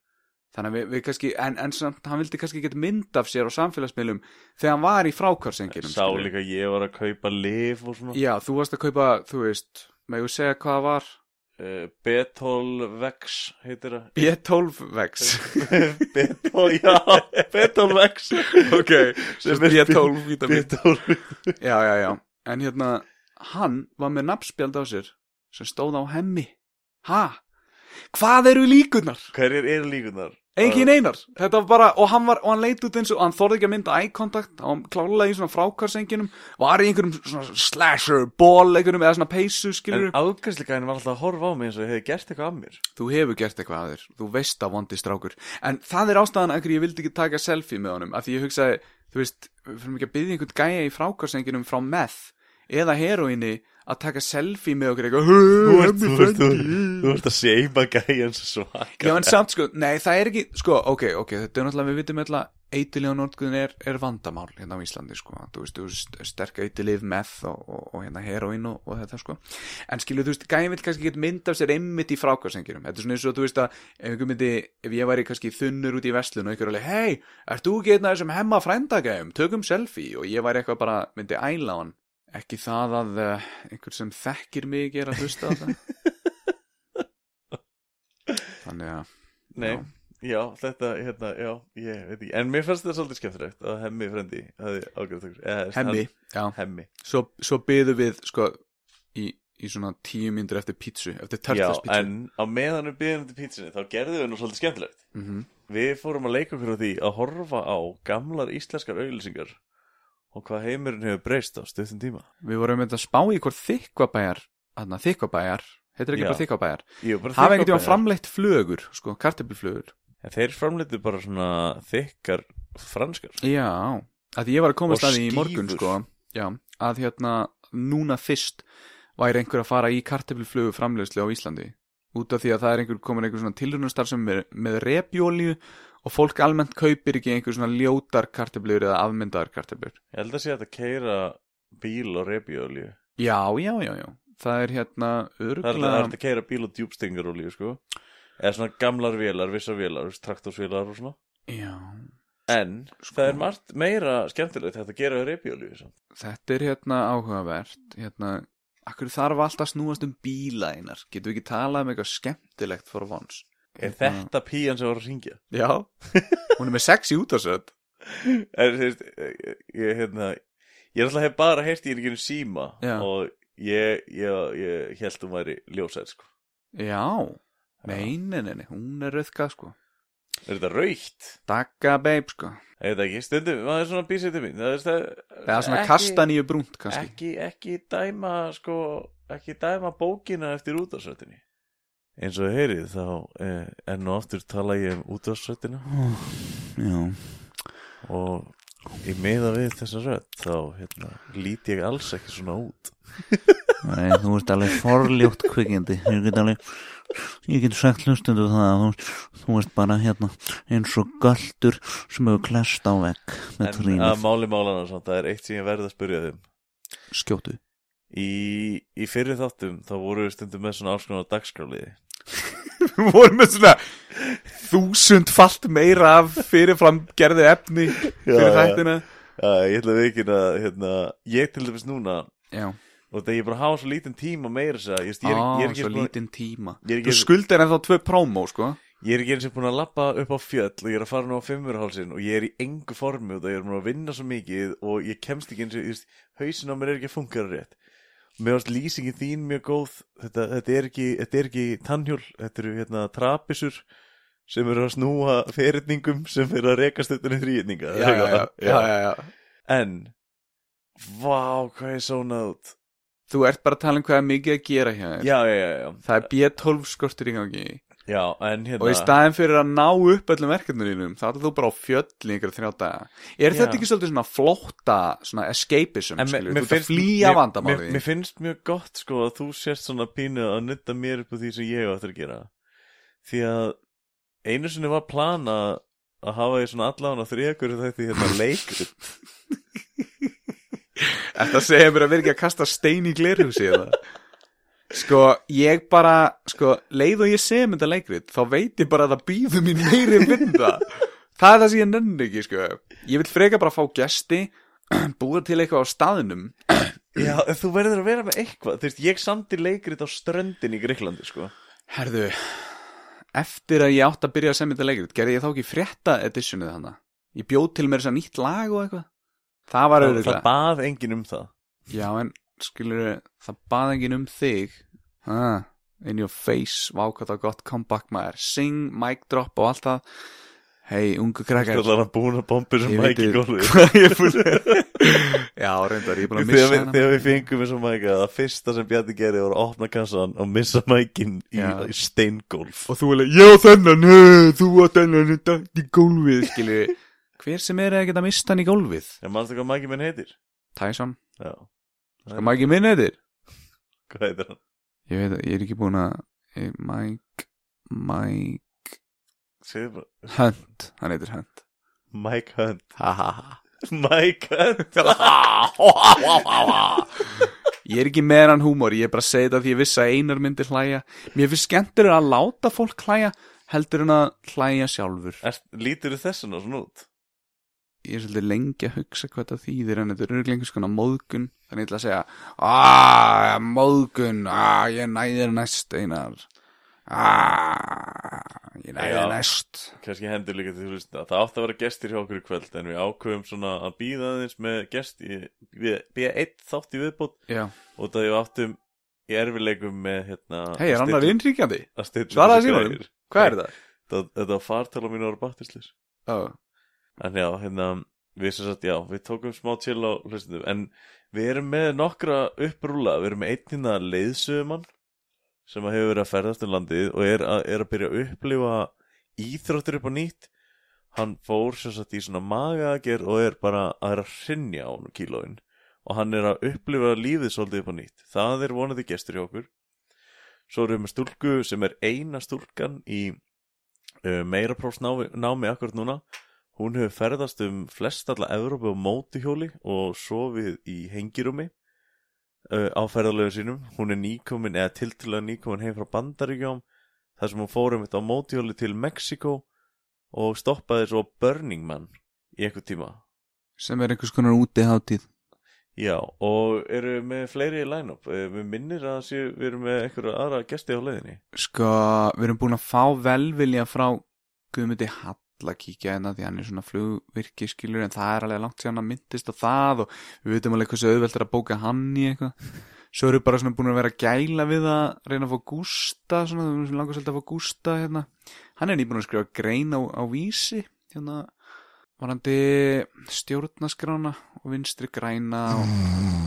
Speaker 3: þannig að við, við kannski en, en samt, hann vildi kannski geta mynd af sér á samfélagsmiðlum þegar hann var í frákvarsenginum
Speaker 2: Sá líka ég var að kaupa lif og svona
Speaker 3: já, þú varst að kaupa, þú veist með ég segja hvað það var
Speaker 2: uh, Betol Vex heitir það
Speaker 3: B12 vex
Speaker 2: Betol, já, Betol Vex
Speaker 3: ok,
Speaker 2: Sem er
Speaker 3: B12 vítamin
Speaker 2: Betol
Speaker 3: já, já, já, en hérna hann var með nafnspjald á sér sem stóð á hemmi ha, hvað eru líkunar?
Speaker 2: Hverjir eru líkunar?
Speaker 3: Engin einar, þetta var bara, og hann var, og hann leit út eins og hann þorði ekki að mynda eye contact, hann klálega í svona frákarsenginum og var í einhverjum svona slasher, ból, einhverjum eða svona peysu, skilur
Speaker 2: En afgæsleika henni var alltaf að horfa á mig eins og ég hefði gert eitthvað af mér
Speaker 3: Þú hefur gert eitthvað að þér, þú veist að vondi strákur, en það er ástæðan að hverju ég vildi ekki taka selfie með honum, af því ég hugsaði, þú veist, við fyrir ekki að byggja einhvern gæja í frákarsenginum frá meth eða heroinni að taka selfie með okkur eitthvað,
Speaker 2: Þú
Speaker 3: "Hö,
Speaker 2: ert-
Speaker 3: Hemmi
Speaker 2: þú ert- þú
Speaker 3: frændi."
Speaker 2: ert- þú ert að seima gæjan svo svaka
Speaker 3: Já, en samt sko, nei, það er ekki, sko, ok, ok, þetta er náttúrulega, við vitum alltaf, eitilega nórguðin er, er vandamál hérna á Íslandi, sko, þú veist, þú veist, sterk eitilif, meth og, og, og hérna heroin og, og þetta, sko, en skilur, þú veist, gæði vill kannski geta mynd af sér einmitt í frákvarsengjunum, þetta er svona eins og, þú veist, að ef einhver myndi, ef ég væri kannski þunnur út í vestlun og einhver alveg, hei, ert þú ekki hérna þessum hemma frændagæðum, tökum selfie og ég væri eitthvað bara, myndi æla á hann, ekki það að uh, einhver sem þekkir mig er að hlusta á það. Þannig að
Speaker 2: Nei, já, þetta, hérna, já, ég veit ekki En mér fannst þetta svolítið skemmtilegt að Hemmi frendi hafði ágært okkur eh,
Speaker 3: Hemmi, já.
Speaker 2: hann- Hemmi,
Speaker 3: Svo, svo byðum við, sko, í, í svona tíu myndir eftir pítsu, eftir
Speaker 2: já,
Speaker 3: tertaspítsu.
Speaker 2: en á meðan við byggðum til pítsinni þá gerðum við nú svolítið skemmtilegt
Speaker 3: Mhm.
Speaker 2: Við fórum að leika okkur á því að horfa á gamlar íslenskar auglýsingar og hvað heimurinn hefur breyst á stuttum tíma
Speaker 3: Við vorum með að spá í hvort þykkvabæjar, þarna þykkvabæjar, heitir ekki
Speaker 2: Já.
Speaker 3: bara þykkvabæjar,
Speaker 2: Ég var bara að
Speaker 3: hafa
Speaker 2: þykka
Speaker 3: einhvern tíma
Speaker 2: bara-
Speaker 3: framleitt flögur, sko, kartöfluflögur.
Speaker 2: En þeir framleitu bara svona þykkar franskar
Speaker 3: Já, að því ég var að komast
Speaker 2: Og
Speaker 3: að því í morgun,
Speaker 2: skífur.
Speaker 3: sko, já, að hérna núna fyrst væri einhver að fara í kartöfluflögu framleiðslu á Íslandi. Út af því að það er einhver komin einhver svona tilrunastar sem er með repjólíu og fólk almennt kaupir ekki einhver svona ljótar kartöflur eða afmyndaðar kartöflur.
Speaker 2: Ég held að sé hægt að keira bíl á rebiolíu
Speaker 3: Já, já, já, já. Það er hérna
Speaker 2: Það er alltaf
Speaker 3: öruglega...
Speaker 2: hægt að keira bíl á djúbstingarolíu sko Eða svona gamlar vélar, vissar vélar, þú veist, traktorsvélar og svona
Speaker 3: Já,
Speaker 2: En
Speaker 3: Sko.
Speaker 2: það er margt meira skemmtilegt hægt að gera á rebiolíu
Speaker 3: þetta er hérna áhugavert. Hérna, akkur þarf alltaf að snúast um bíla einar. Getum við ekki talað um eitthvað skemmtilegt for once?
Speaker 2: Er
Speaker 3: Hérna-
Speaker 2: þetta pían sem var að syngja?
Speaker 3: Já, hún er með sexy útarsöld.
Speaker 2: Er, þú veist, ég, hérna, ég er alltaf hef bara heyrt í einhvern síma
Speaker 3: Já.
Speaker 2: Og ég, ég, ég held hún væri ljósæð sko
Speaker 3: Já, nei, nei, nei, nei, hún er röðka, sko.
Speaker 2: Er þetta raukt?
Speaker 3: Dagga babe, sko.
Speaker 2: Ég veit ekki, stundum, maður er svona bísið til mín Það er það
Speaker 3: Eða svona
Speaker 2: ekki-
Speaker 3: kastaníu brúnt, kannski.
Speaker 2: ekki, ekki dæma sko, ekki dæma bókina eftir útvarsrættinni eins og þið heyrið þá eh, enn og aftur tala ég um útvarsrættina
Speaker 3: Já.
Speaker 2: og í meða við þessa rödd þá hérna, lít ég alls ekki svona út
Speaker 4: Nei, þú ert alveg forljótt kvikindi Ég get alveg Ég get sagt hlustundu það að þú, þú ert bara hérna eins og galdur sem hefur klest á vegg með
Speaker 2: en að
Speaker 4: trýnið
Speaker 2: máli málana samt, það er eitt sem ég verð að spyrja þeim
Speaker 3: Skjótu.
Speaker 2: í, í fyrir þáttum þá voru við stundum með svona alls konar dagskráliði
Speaker 3: Við vorum með svona þúsundfalt meira af fyrirfram gerðu efni fyrir
Speaker 2: já.
Speaker 3: þættina.
Speaker 2: uh, ég ætla við ekki að hérna, ég til dæmis núna
Speaker 3: Já.
Speaker 2: og þegar ég bara hafa svo lítinn tíma meira þess að ég, ég, er-
Speaker 3: Á,
Speaker 2: ég er ekki
Speaker 3: svo
Speaker 2: búinn að-
Speaker 3: lítinn tíma
Speaker 2: ég er ekki-
Speaker 3: Þú skuldar ennþá tvö prómó, sko
Speaker 2: Ég er ekki eins og búin að lappa upp á fjöll og ég er að fara nú á fimmurhálsin og ég er í engu formi og það ég er búin að vinna svo mikið og ég kemst ekki eins og, ég veist, hausin á mér er ekki að funka rétt. Mér varst lýsingin þín mjög góð, þetta, þetta, er, ekki, þetta er ekki tannhjól, þetta eru hérna trapisur sem eru að snúa fyrirningum sem eru að rekast þetta niður þrýðninga.
Speaker 3: já, já.
Speaker 2: En, vá, hvað ég sónað út.
Speaker 3: Þú ert bara að tala um hvað er mikið að gera hér
Speaker 2: Já, já, já, já,
Speaker 3: Það er B12 skortur í gangi
Speaker 2: já, en hérna.
Speaker 3: Og í staðin fyrir að ná upp öllum verkefnunum þá ætlar þú bara á fjöll í ykkur þrjá daga Er
Speaker 2: Já.
Speaker 3: þetta ekki svolítið svona flótta svona escapism,
Speaker 2: En mér-
Speaker 3: skilur
Speaker 2: mér
Speaker 3: Þú ert að
Speaker 2: finnst-
Speaker 3: flýja
Speaker 2: mér- mér-
Speaker 3: vandamáli
Speaker 2: Mér finnst mjög gott sko að þú sért svona pínu að nutta mér upp á því sem ég á eftir að gera Því að einu sinni var plan að að hafa því svona allan á þrjökur þetta hérna leikrit
Speaker 3: Þetta segir mér að vera ekki að kasta stein í glerhúsi eða Sko, ég bara, sko, leið og ég sem þetta leikrit, þá veit ég bara að það býður mín meiri vinda. það er það sem ég nenni ekki, sko. Ég vil freka bara fá gesti, búa til eitthvað á staðinum.
Speaker 2: Já, þú verður að vera með eitthvað Þú veist, ég samti leikrit á ströndin í Greiklandi, sko
Speaker 3: Herðu, eftir að ég átt að byrja að semja þetta leikrit, gerði ég þá ekki frétta editionið hana. Ég bjóð til mér þess að nýtt lag og eitthvað. Það var
Speaker 2: Það,
Speaker 3: auðvitað.
Speaker 2: bað enginn um það
Speaker 3: Já, en skilur, það bað enginn um þig ah, In your face, vá hvað það er gott comeback maður Sing, mic drop og allt það Hei, ungu krakkar
Speaker 2: Skallar hann búin að bomba sem
Speaker 3: Ég veit
Speaker 2: mæk í
Speaker 3: ekki
Speaker 2: gólfi
Speaker 3: hvað ég er búinn að- Já, reyndar, ég er búin að missa
Speaker 2: Þegar við,
Speaker 3: hana
Speaker 2: þegar við fengum þessum mæka Það fyrsta sem Bjarni gerði var að opna kassan og missa mækin í,
Speaker 3: Já.
Speaker 2: í steingólf
Speaker 3: Og þú er alveg, já þennan, hei, þú að þennan Þetta í gólfið, skilur Hver sem er að geta mist hann í gólfið?
Speaker 2: En mannstu hvað mækin minn heitir?
Speaker 3: Tyson,
Speaker 2: Já,
Speaker 3: sko maður ekki minn heitir?
Speaker 2: hvað heitir hann?
Speaker 3: Ég veit, að- ég er ekki búin að eh, Mike, Mike
Speaker 2: Segðu bara,
Speaker 3: Hunt, hann heitir Hunt
Speaker 2: Mike Hunt
Speaker 3: Ha ha ha
Speaker 2: Mike Hunt
Speaker 3: Ég er ekki með hann húmor, ég er bara að segja þetta því ég vissi að einar myndi hlæja. Mér finnst skemmtur að láta fólk hlæja heldur en að hlæja sjálfur.
Speaker 2: Lítur þessan og svona út?
Speaker 3: Ég er svolítið lengi að hugsa hvað það þýðir en þetta er örugglega einhvers konar móðgun. Þannig ég ætla að segja, aaaah, móðgun, aaaah, ég næðir næst einar. Aaaah, ég
Speaker 2: Já.
Speaker 3: næðir næst.
Speaker 2: kannski hendur líka til þú veist að það átti að vera gestir hjá okkur í kvöld en við ákveðum svona að býða aðeins með gest í, við býða eitt þátt í viðbót
Speaker 3: Já.
Speaker 2: og það við áttum í erfileikum með hérna
Speaker 3: Hei, er annar innríkjandi? Svaraðu
Speaker 2: svaraði
Speaker 3: símanum. Hvað er það?
Speaker 2: það, þetta var fartala mínu ára báttislis
Speaker 3: Ó,
Speaker 2: en já, hérna við sem sagt, já, við tókum smá til á hlustundum en við erum með nokkra upprúla, við erum með einn hérna leiðsögumann sem að hefur verið að ferðast um landið og er að, er að byrja að upplifa íþróttir upp á nýtt hann fór sem sagt í svona magaager og er bara að er að hrinja á honum kílóin og hann er að upplifa lífið svolítið upp á nýtt það er vonandi gestur hjá okkur svo erum við með stúlku sem er eina stúlkan í uh, meira prófsnámi námi akkurat núna Hún hefur ferðast um flest alla Evrópu á mótuhjóli og sofið í hengirúmi uh, á ferðalögu sínum. Hún er nýkomin eða tiltilega nýkomin heim frá Bandaríkjám þar sem hún fórum þetta á mótuhjóli til Mexiko og stoppaði svo á Burning Man í eitthvað tíma.
Speaker 3: sem er einhvers konar útiháttíð.
Speaker 2: Já, og eru með fleiri í line-up. Eh, Við minnir að það séu, við erum með einhverja aðra gesti á leiðinni.
Speaker 3: Sko, við erum búin að fá velvilja frá Guðmundi Hall að kíkja hérna því hann er svona flugvirki skilur en það er alveg langt síðan að myndist á það og við veitum alveg hversu auðvelt er að bóka hann í eitthvað svo erum við bara svona búin að vera að gæla við að reyna að fá Gústa svona, við erum langast að fá Gústa hérna hann er nýbúin að skrifa grein á, á vísi hérna varandi stjórnaskrána og vinstri græna og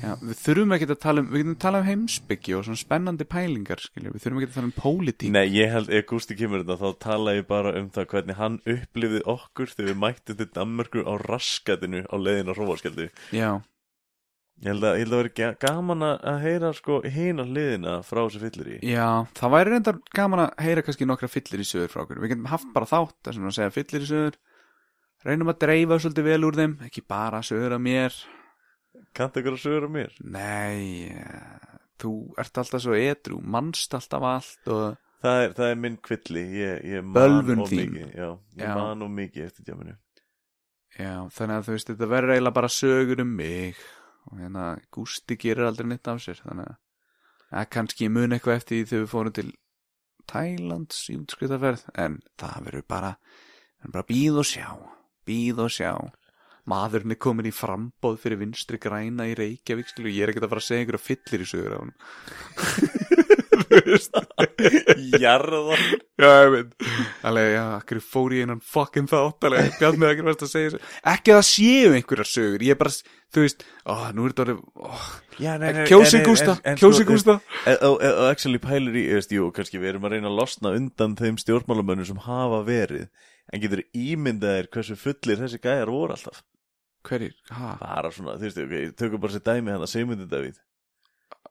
Speaker 3: Já, við þurfum ekki að tala um, við getum tala um heimsbyggi og svona spennandi pælingar, skiljum, við þurfum ekki að tala um pólitík.
Speaker 2: Nei, ég held, ef Gústi kemur þetta, þá tala ég bara um það hvernig hann upplifði okkur þegar við mættum til Danmörku á raskatinu á leiðin á Rófarskeldu.
Speaker 3: Já,
Speaker 2: Ég held að, ég held að vera ga- gaman að að heyra sko hina hliðina frá þessu fyllir í.
Speaker 3: já, það væri reyndar gaman að heyra kannski nokkra fyllir í sögur frá okkur. Við getum haft bara þátt, það sem að segja fyllir í sögur, reynum að dreifa svolítið vel úr þeim, ekki bara sögur af mér.
Speaker 2: Kanntu ykkur að sögur á mér?
Speaker 3: Nei, eh, þú ert alltaf svo edru, mannst alltaf allt og...
Speaker 2: Það er, það er minn kvilli, ég, ég man
Speaker 3: Bölvun
Speaker 2: of
Speaker 3: þín.
Speaker 2: mikið. Já, ég
Speaker 3: Já.
Speaker 2: man of mikið eftir tjáminu.
Speaker 3: Já, þannig að þú veist, þetta verður eiginlega bara sögur um mig og hérna, Gústi gerir aldrei neitt af sér, þannig að ja, kannski ég mun eitthvað eftir því þegar við fórum til Tælands í útskriðarferð, en það verður bara, verður bara býð og sjá, býð og sjá. Maðurinn er komin í frambóð fyrir vinstri græna í Reykjavík, skilu, ég er ekkert að fara að segja einhverja fyllir í sögur af hún. þú veist,
Speaker 2: Jarðan!
Speaker 3: Já, ég veit Alveg, já, akkur fór ég innan fucking þátt Alveg, bjarnið akkur varst að segja þessu Ekki að það séu einhverjar sögur Ég er bara, þú veist, ó, nú er þetta orðið ó,
Speaker 2: Já, nei, sko,
Speaker 3: Kjósi Gústa, kjósi Gústa
Speaker 2: Og og oh, eh, actually pælir í, eh, veist, jú, kannski við erum að reyna að losna undan þeim stjórnmálamönnum sem hafa verið. En getur ímyndaðir hversu fullir þessi gæjar voru alltaf.
Speaker 3: Hverjir, ha,
Speaker 2: Bara svona, þú veist, ok, tökum bara sér dæmi hann að segmundi Davíð.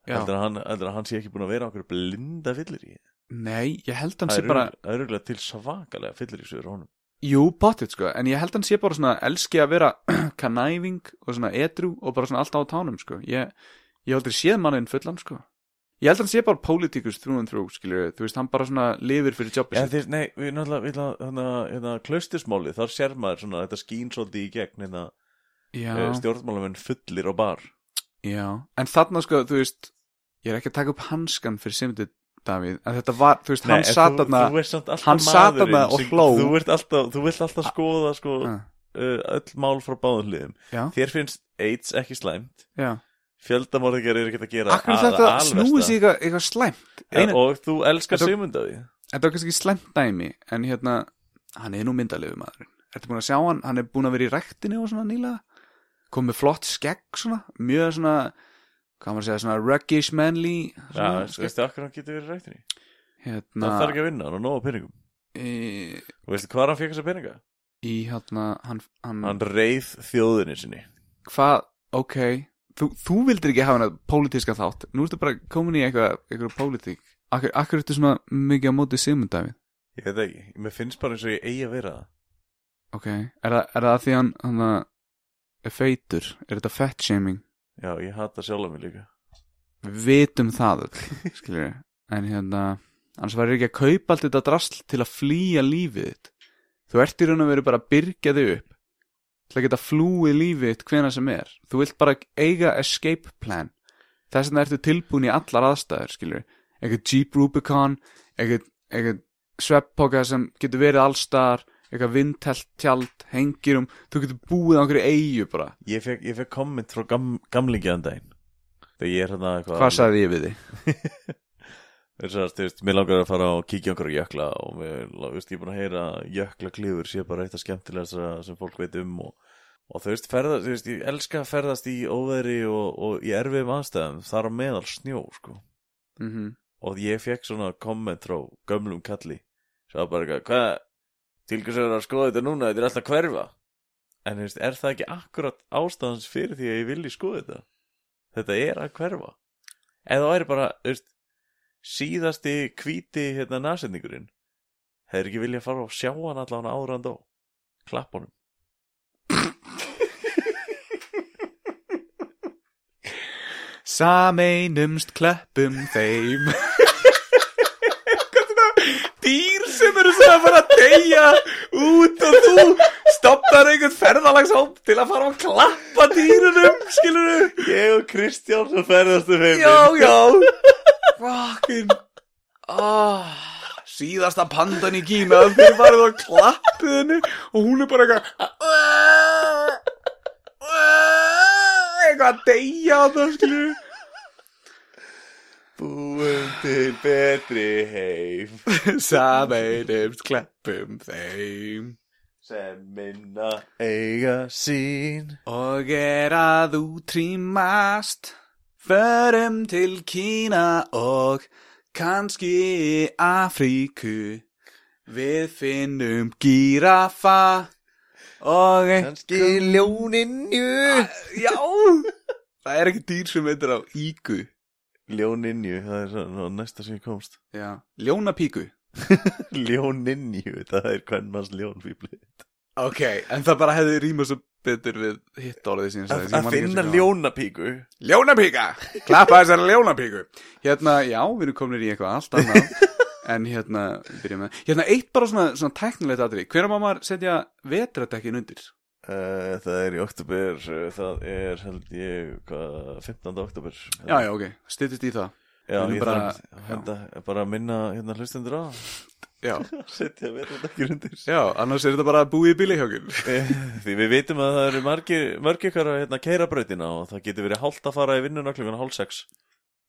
Speaker 3: já
Speaker 2: Heldur að, hann- heldurðu að hann sé ekki búin að vera okkur blinda fyllir í.
Speaker 3: Nei, ég held hann
Speaker 2: Það
Speaker 3: sé
Speaker 2: er
Speaker 3: bara
Speaker 2: bara... örgulega til svakalega fyllir í sögur á honum.
Speaker 3: Jú, potið, sko, en ég held hann sé bara svona Elski að vera kanæfing Og svona edru og bara svona alltaf á tánum, sko Ég, ég hef aldrei séð manninn fullan, sko Ég held að hann sé bara pólitíkus þrún og þrjú, skilur Þú veist, hann bara svona lifir fyrir jobbi
Speaker 2: Já,
Speaker 3: sitt
Speaker 2: þeir, nei, við náttúrulega, við náttúrulega hérna, hérna, klaustismáli, þar sér maður svona, þetta skín svolítið í gegn, hérna,
Speaker 3: Já,
Speaker 2: eh, stjórnmálamenn fullir á bar.
Speaker 3: já En þarna, sko, þú veist Ég er ekki að taka upp hanskan fyrir Simdi Davíð En þetta var, þú veist, hann
Speaker 2: en
Speaker 3: satt
Speaker 2: þú-
Speaker 3: þarna
Speaker 2: þú ert samt alltaf
Speaker 3: hann sat
Speaker 2: maðurinn
Speaker 3: þarna og
Speaker 2: sem-
Speaker 3: hló.
Speaker 2: Þú vilt alltaf, þú vilt alltaf skoða, sko, uh,
Speaker 3: Ah,
Speaker 2: öll mál frá báðum hliðum.
Speaker 3: Já.
Speaker 2: Þér finnst AIDS ekki slæmt,
Speaker 3: Já,
Speaker 2: fjöldamorðingar eru ekkert að gera
Speaker 3: akkur þetta snúið sig eitthvað, eitthvað slæmt
Speaker 2: einar.
Speaker 3: einar-
Speaker 2: Og þú elskar
Speaker 3: Þetta-
Speaker 2: sigmundaði.
Speaker 3: Þetta var kannski slæmt dæmi En hérna, hann er nú myndalegu maðurinn Ertu búin að sjá hann, hann er búin að vera í rektinu og svona nýlega Kom með flott skegg svona Mjög svona, hvað á maður að segja, svona ruggish manly
Speaker 2: Já,
Speaker 3: svona, skegg.
Speaker 2: veistu, akkur hann getur verið reiktinni.
Speaker 3: Hérna,
Speaker 2: Það þarf ekki að vinna, hann er nóg á peningum.
Speaker 3: í,
Speaker 2: Og veistu hvað hann fekk þessa peninga?
Speaker 3: í hérna, hann, hann,
Speaker 2: Hann reið þjóðinni sinni.
Speaker 3: hvað, ok þú, þú vildir ekki hafa hann pólitíska þátt nú ertu bara komin í eitthvað, eitthvað pólitík akkur, akkur ertu svona mikið á móti Sigmund Davíð,
Speaker 2: Ég veit það ekki, mér finnst bara eins og ég eigi að vera það.
Speaker 3: ok er, það- er það af því hann, hann að er feitur, er þetta fat shaming
Speaker 2: Já, ég hata sjálf mig líka.
Speaker 3: við vitum það öll, skilur við en hérna, annars væri ekki að kaupa allt þetta drasl til að flýja lífið þitt þú ert í raun og veru bara að byrgja þig upp til að geta flúið lífið þitt hvena sem er þú vilt bara eiga escape plan þess vegna ertu tilbúin í allar aðstæður skilur, eitthvað Jeep Rubicon eitthvað, eitthvað svepppoka sem getur verið allstar eitthvað vindtelt tjald, hengirum þú getur búið á einhverju eigu bara
Speaker 2: Ég fekk, ég fekk komment frá gam, gamlingjaðan daginn. Þegar ég er hérna eitthvað...
Speaker 3: hvað sagði ég við þig?
Speaker 2: Þeir sagðast, þú veist, mér langar að fara og kíkja okkur á jökla og mér, þú veist, ég er búin að heyra að jökla klífur sé bara eitt af skemmtilegast sem fólk veit um og, og þú veist, ferðast, þú veist, ég elska að ferðast í óveðri og, og í erfiðum aðstæðum, þar á meðal snjó, sko.
Speaker 3: Mm
Speaker 2: og ég fekk svona komment frá gömlum kalli svo bara eitthvað, hvað tilkvæmst er að skoða þetta núna, þetta er alltaf hverfa en þú veist, er það ekki akkurat ástæðans fyrir því að ég vilji skoða þetta þetta er að hverfa eða það væri bara, þú veist síðasti hvíti hérna nasendingurinn hefur ekki viljað fara og sjá hann allan áður en hann dó klapp honum
Speaker 3: Sameinumst klöppum þeim
Speaker 5: dýr sem eru svona að fara að deyja út og þú stopnar einhvern ferðalagshóp til að fara að klappa dýrunum skilur þú?
Speaker 2: ég og Kristján sem ferðast um heiminn
Speaker 5: Já, já Fucking oh. Síðasta pandan í Kína þeir farið og klappið henni og hún er bara eitthvað eitthvað að deyja á það skilur þú?
Speaker 2: búum til betri heim
Speaker 5: Sameinumst kleppum þeim
Speaker 2: sem minna eiga sín
Speaker 5: Og er að útrýmast Förum til Kína og kannski Afríku Við finnum gíraffa og
Speaker 2: Kanski ljóninju
Speaker 5: Já, það er ekki dýr sem veitur á íku
Speaker 2: Ljóninju, það er svona næsta sem ég komst
Speaker 5: Já, ljónapíku
Speaker 2: Ljóninju, það er hvern manns ljónfýbli
Speaker 5: Ok, en það bara hefði rímað svo betur við hitt orðið síðan
Speaker 2: Að að finna ljónapíku
Speaker 5: Ljónapíka, klappa þessari ljónapíku Hérna, já, við erum komin í eitthvað allt annað En hérna, við byrjum með Hérna, eitt bara svona, svona teknilegt aðri Hvenær má maður setja vetradekkin undir?
Speaker 2: uh, Það er í oktober uh, Það er held ég hvað, 15. oktober
Speaker 5: Já, já, ok, styttist í það við
Speaker 2: já
Speaker 5: erum
Speaker 2: ég bara,
Speaker 5: bara-
Speaker 2: þarf henda, bara að minna hérna hlustendur á
Speaker 5: Já,
Speaker 2: Setja verður ekki undir
Speaker 5: já, annars er þetta bara að búi í bíli hjá okkur
Speaker 2: Eh, Því við vitum að það eru margir, mörg ykkar að hérna, keira brautina og það getur verið hálft að fara í vinnuna klukkan hálf sex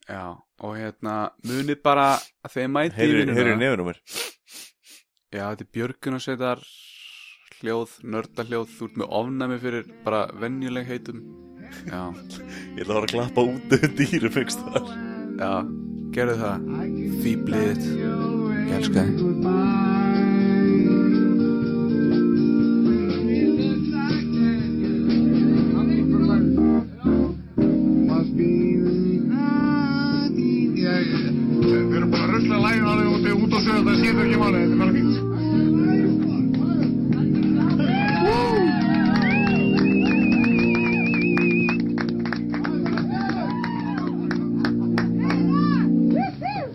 Speaker 5: Já, og hérna, munið bara að þeir mæti í
Speaker 2: Heyrðu
Speaker 5: vinnuna
Speaker 2: heyrðu í nefnum mér
Speaker 5: Já, þetta er björgun að setja hljóð, nördahljóð Þú ert með ofnæmi fyrir bara venjuleg heitum Já,
Speaker 2: Ég ætla að fara að klappa út um dýrum fyrst þar
Speaker 5: já, gerðu það Fýblið, ég elska þið
Speaker 1: Goodbye.